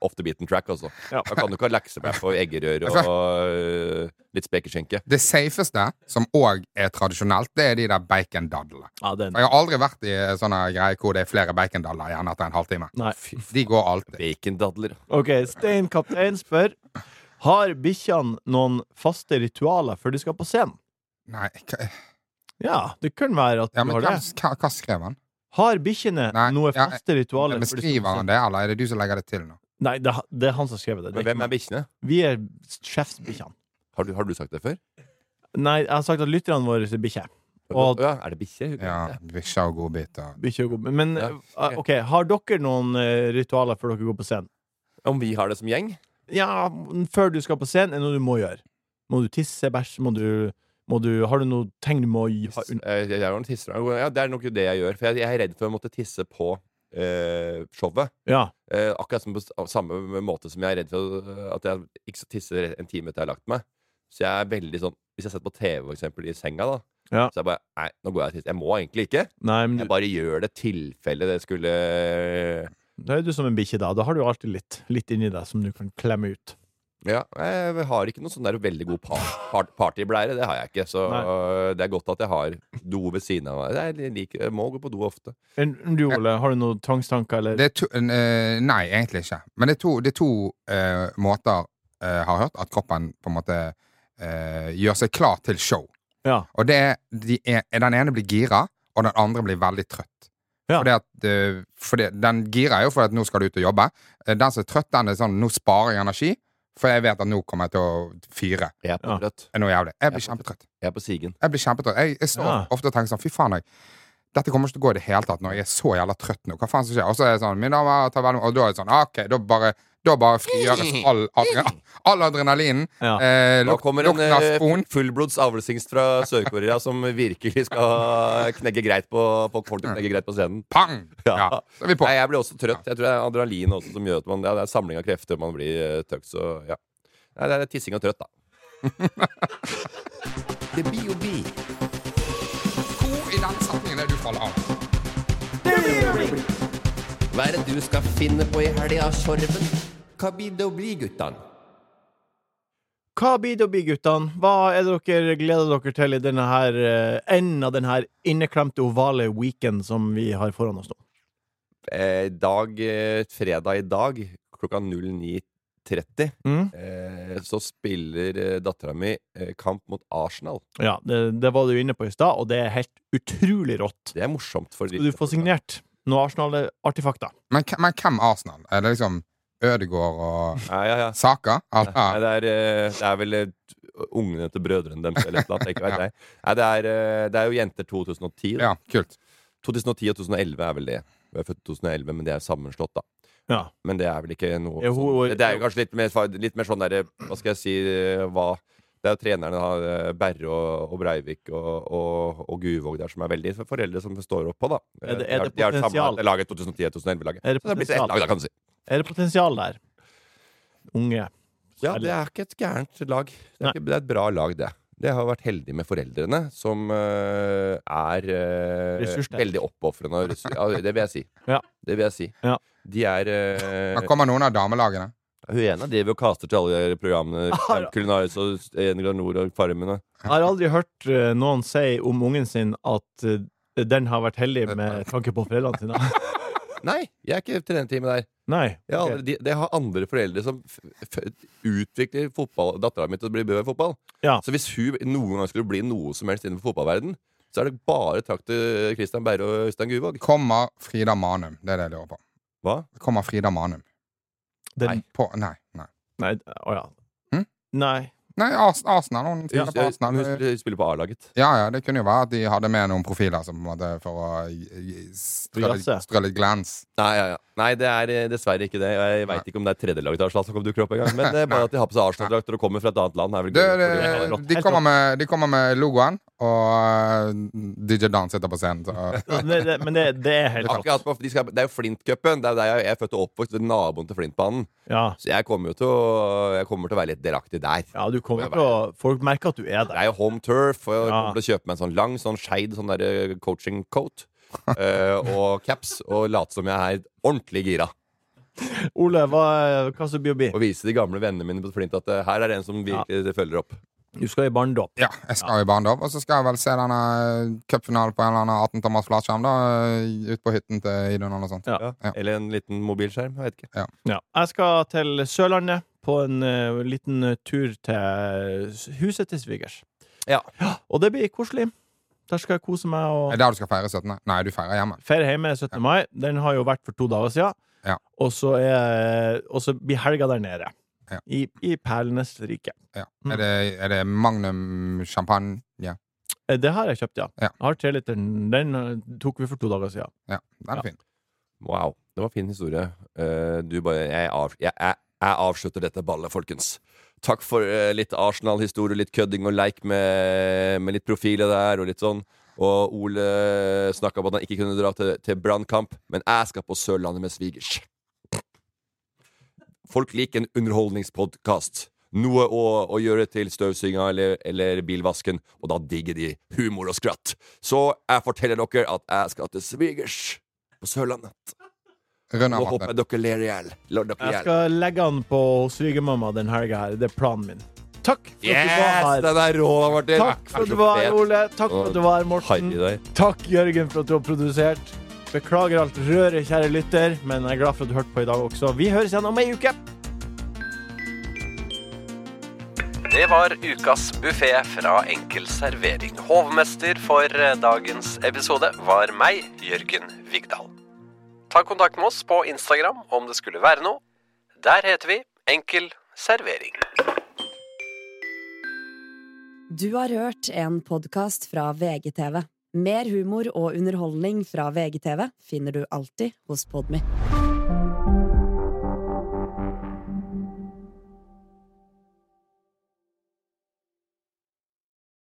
B: off the beaten track, altså.
A: Ja.
B: Da kan du ikke ha laksebrød og eggerør og eh, litt spekeskjenke.
C: Det safeste, som òg er tradisjonelt, det er de der bacondadlene.
A: ja den
C: Jeg har aldri vært i sånne greier hvor det er flere bacondadler igjen etter en halvtime.
A: Nei
C: De går alltid.
B: Bacondadler.
A: Ok, Stein kaptein spør Har bikkjene noen faste ritualer Før de skal på scenen?
C: Nei, hva,
A: Ja, det kan være at
C: ja,
A: du
C: men
A: har
C: hva,
A: det
C: hva, hva skrev han?
A: Har bikkjene
C: Nei,
A: noen
C: ja,
A: faste ritualer
C: Men
B: sånn-
A: før de skal på
C: Skriver han
A: scenen?
C: det, eller er det du som legger det til nå?
A: Nei, det, er- det er han som skrev det, det
B: Men
A: er ikke
B: hvem er
A: meg.
B: bikkjene?
A: Vi er sjefsbikkjene
B: Har, du- har du sagt det før?
A: Nei, jeg har sagt at lytterne våre er bikkje Og-
B: ja, er det bikkje?
C: Ja, Bikkja og godbiter.
A: Bikkje og god Men
B: Ja,
A: eh, ok, har dere noen eh, ritualer før dere går på scenen?
B: Om vi har det som gjeng?
A: Ja, m- før du skal på scenen, er det noe du må gjøre. Må du tisse, bæsje, må du, må du Har du noen ting du må gi- ha
B: Tis-
A: un-
B: eh, Jeg er jo en tisser. Ja, det er nok det jeg gjør. For jeg, jeg er redd for å måtte tisse på eh, showet.
A: Ja.
B: Eh, akkurat som på s- samme måte som jeg er redd for eh, at jeg ikke skal tisse en time etter jeg har lagt meg. Så jeg er veldig sånn Hvis jeg setter på TV for eksempel i senga, da,
A: Ja. Mm.
B: så jeg bare Nei, nå går jeg og tisser. Jeg må egentlig ikke.
A: Nei, men
B: Jeg
A: du,
B: bare gjør det tilfelle det skulle
A: da er du som en bikkje, da. Da har du alltid litt, litt inni deg som du kan klemme ut.
B: Ja, jeg har ikke noen sånn der veldig god par, par, partyblære. Det har jeg ikke. Så øh, det er godt at jeg har do ved siden av meg. Jeg, liker, jeg må gå på do ofte.
A: Enn du, Ole, har du noen tvangstanker, eller?
C: Det er to, eh, nei, egentlig ikke. Men det er to, det er to eh, måter jeg har hørt at kroppen på en måte eh, gjør seg klar til show.
A: Ja.
C: Og det er, de er, den ene blir gira, og den andre blir veldig trøtt.
A: Ja.
C: Fordi at, eh, fordi, den gira er jo fordi at nå skal du ut og jobbe. Eh, Den som er trøtt, den er sånn Nå sparer jeg energi, for jeg vet at nå kommer jeg til å fyre.
B: Jeg er på
A: Ja.
B: trøtt.
C: Eh, Noe jævlig. Jeg
B: Jeg
C: blir
B: får-
C: kjempetrøtt.
B: Jeg er på sigen.
C: Jeg blir kjempetrøtt. Jeg, jeg står
A: Ja.
C: ofte og tenker sånn, fy faen, jeg, dette kommer ikke til å gå i det hele tatt når jeg er så jævla trøtt nå. Hva faen som skjer? Og så er jeg sånn, mine damer, ta vel imot. Og da er det sånn, ah, ok, da bare, da bare frigjøres all, adre, all adrenalinen.
A: Ja.
C: Eh,
B: Nå
C: luk,
B: kommer en
C: lukten av
B: eh,
C: spon.
B: fullblods avlsingst fra Sør-Korea som virkelig skal knegge greit på, på, folk til å knegge greit på scenen.
C: Pang! Ja.
B: Ja.
C: Så er vi på.
B: Nei, jeg blir også trøtt. Jeg tror det er adrenalin også som gjør at man, ja, det er en samling av krefter. Man blir eh, tøkt, så ja. Nei, det er tissing og trøtt, da.
D: Det blir jo vi.
C: Hvor i den setningen er du faller av?
D: Hva er det du skal finne på i helga, Sorven? Hva blir det å bli, guttan?
A: Hva blir det å bli, guttene? Hva er det dere gleder dere til i denne her eh, enden av denne her inneklemte ovale weekend som vi har foran oss nå?
B: eh, dag, eh, fredag i dag klokka 09.30
A: Mm?
B: eh, så spiller eh, dattera mi eh, kamp mot Arsenal.
A: Ja, det, det var du inne på i stad, og det er helt utrolig rått.
B: Det er morsomt. For
A: Skal du få signert noen Arsenal-artefakter?
C: Men, hvem- men hvem Arsenal? Er det liksom Ødegård og
B: Ja, ja, ja.
C: Saka?
B: Nei,
C: Eller?
B: det, er, eh, det er vel eh, ungene til brødrene deres eller et eller annet. Jeg vet
C: Ja.
B: ikke. Nei, det, er, eh, det er jo Jenter 2010. Da.
C: Ja, kult.
B: 2010 og 2011 er vel det. Hun er født i 2011, men det er sammenslått, da.
A: Ja.
B: Men det er vel ikke noe
A: Ja, hun-
B: sånn. Det er jo kanskje litt mer, litt mer sånn derre Hva skal jeg si eh, hva, Det er jo trenerne, da, eh, Berre og, og Breivik og, og, og Guvåg der, som er veldig for- foreldre som står opp på, da.
A: Er det-
B: De
A: er
B: har-
A: det
B: de har samlet
A: potensial?
B: det laget 2010-2011-laget.
A: Er det
B: Så det er blitt ett
A: potensial?
B: lag, da, kan du si.
A: Er det potensial der? Unge.
B: Ja, det er ikke et gærent lag. Det
A: Nei.
B: er, ikke, det er et bra lag, det. Det har vært heldig med foreldrene, som eh, er eh,
A: Ressurssterke.
B: veldig oppofrende. og ressurs- Ja, det vil jeg si.
A: Ja.
B: Det vil jeg si.
A: Ja.
B: De er eh,
C: Men kommer noen av damelagene?
B: Hun ene driver og kaster til alle programmene. Kulinaris og En Grand Nord og Farmen. og-
A: Jeg har aldri hørt eh, noen Eh, si om ungen sin at eh, den har vært heldig med tanke på foreldrene sine.
B: Nei, jeg er ikke trenerteamet der.
A: Nei.
B: Jeg har
A: ok.
B: aldri, de, det har andre foreldre som f f utvikler fotball, dattera mi til å bli bra i fotball.
A: Ja.
B: Så hvis hun noen gang skulle bli noe som helst innenfor fotballverden så er det bare takk til Christian Berre og Øystein Guvåg.
C: Kommer Frida Manum? Det er det jeg lurer på.
B: Hva?
C: Kommer Frida Manum?
A: Den,
B: Nei.
C: På, nei, nei.
A: Nei, å ja.
C: Hm?
A: Nei.
C: Nei, Ars- Arsenal. Hun
B: Hun,
C: spiller på Arsenal.
B: hun hun spiller på A-laget.
C: Ja, ja, det kunne jo være at de hadde med noen profiler som på en måte for å gi- gi- strø litt-
A: Jazze.
C: strø litt glans.
B: Nei, ja, ja. Nei, det er eh, dessverre ikke det. Jeg
C: Nei.
B: veit ikke om det er tredjelaget til Arsenal som kommer dukker opp engang. Men eh, bare at de har på seg Arsenal-drakter og kommer fra et annet land, er vel
C: Det,
B: gøy.
C: eh, det,
B: fordi jeg har rått.
C: de,
A: Helt
C: kommer
A: rått.
C: med, de kommer med logoen, og øh, DJ Dan sitter på scenen. Så.
A: Altså, Det, det, men det, det er helt rått.
B: Akkurat, på- de skal, det er jo Flintcupen. Det er der jeg, jeg er født og oppvokst ved naboen til Flintbanen.
A: Ja.
B: Så jeg kommer jo til å, jeg kommer til å være litt delaktig der.
A: ja, du kommer til å Folk merker at du er
B: Det
A: der.
B: er jo home turf, og jeg
A: Ja.
B: kommer til å kjøpe meg en sånn lang, sånn skeid sånn der, eh, coaching coat. eh, og caps, og late som jeg er ordentlig gira.
A: Ole, hva, hva som blir å bli?
B: Og vise de gamle vennene mine på Flint at eh, her er det en som virkelig følger opp.
A: Du skal i barndom.
C: Ja, jeg skal jo i barndom, og så skal jeg vel se denne cupfinalen på en eller annen 18 Thomas Flatskjerm, da, øh, ut på hytten til Idun eller noe sånt.
A: Ja.
B: Ja.
C: Ja.
B: Eller en liten mobilskjerm. Jeg vet ikke.
A: Ja. Jeg skal til Sørlandet på en eh, liten eh, tur til huset til svigers.
B: Ja.
A: Og det blir koselig. Der skal jeg kose meg og
C: Er det der du skal feire 17.? Nei, du feirer hjemme.
A: Feire hjemme 17. mai. Den har jo vært for to dager siden.
C: Ja.
A: Og så er- og så blir helga der nede.
C: Ja.
A: I, I perlenes rike.
C: Ja.
A: Mm.
C: Er, det, er det Magnum champagne? Ja,
A: Eh, Det har jeg kjøpt, ja.
C: Ja.
A: Jeg har treliteren. Den eh, tok vi for to dager siden.
C: ja den
A: Ja.
C: er fin.
B: Wow. Det var en fin historie. Eh, du bare jeg, av, jeg, jeg, jeg avslutter dette ballet, folkens. Takk for eh, litt Arsenal-historie, litt kødding og leik med, med litt profiler der og litt sånn. Og Ole snakka om at han ikke kunne dra til, til Brannkamp, men jeg skal på Sørlandet med svigers. Folk liker en underholdningspodkast. Noe å, å gjøre til støvsuginga eller, eller bilvasken, og da digger de humor og skratt. Så jeg forteller dere at jeg skal til svigers på Sørlandet.
C: Rund
B: Nå
C: av
B: håper
C: matte.
B: jeg dere ler i hjel. Lar dere i
A: Jeg
B: hjel.
A: skal legge den på svigermamma den helga her. Det er planen min. Takk for at du var
B: Yes!
A: her.
B: Den er rå, Martin.
A: Takk for at du var her, Ole. Takk for at du var her, Morten.
B: Harry der.
A: Takk, Jørgen, for at du har produsert. Beklager alt røret, kjære lytter, men jeg er glad for at du hørte på i dag også. Vi høres igjen om ei uke.
E: Det var ukas buffé fra Enkel servering. Hovmester for eh, dagens episode var meg, Jørgen Vigdal. Ta kontakt med oss på Instagram om det skulle være noe. Der heter vi Enkel servering.
F: Du har hørt en podkast fra VGTV. Mer humor og underholdning fra VGTV finner du alltid hos Podmy.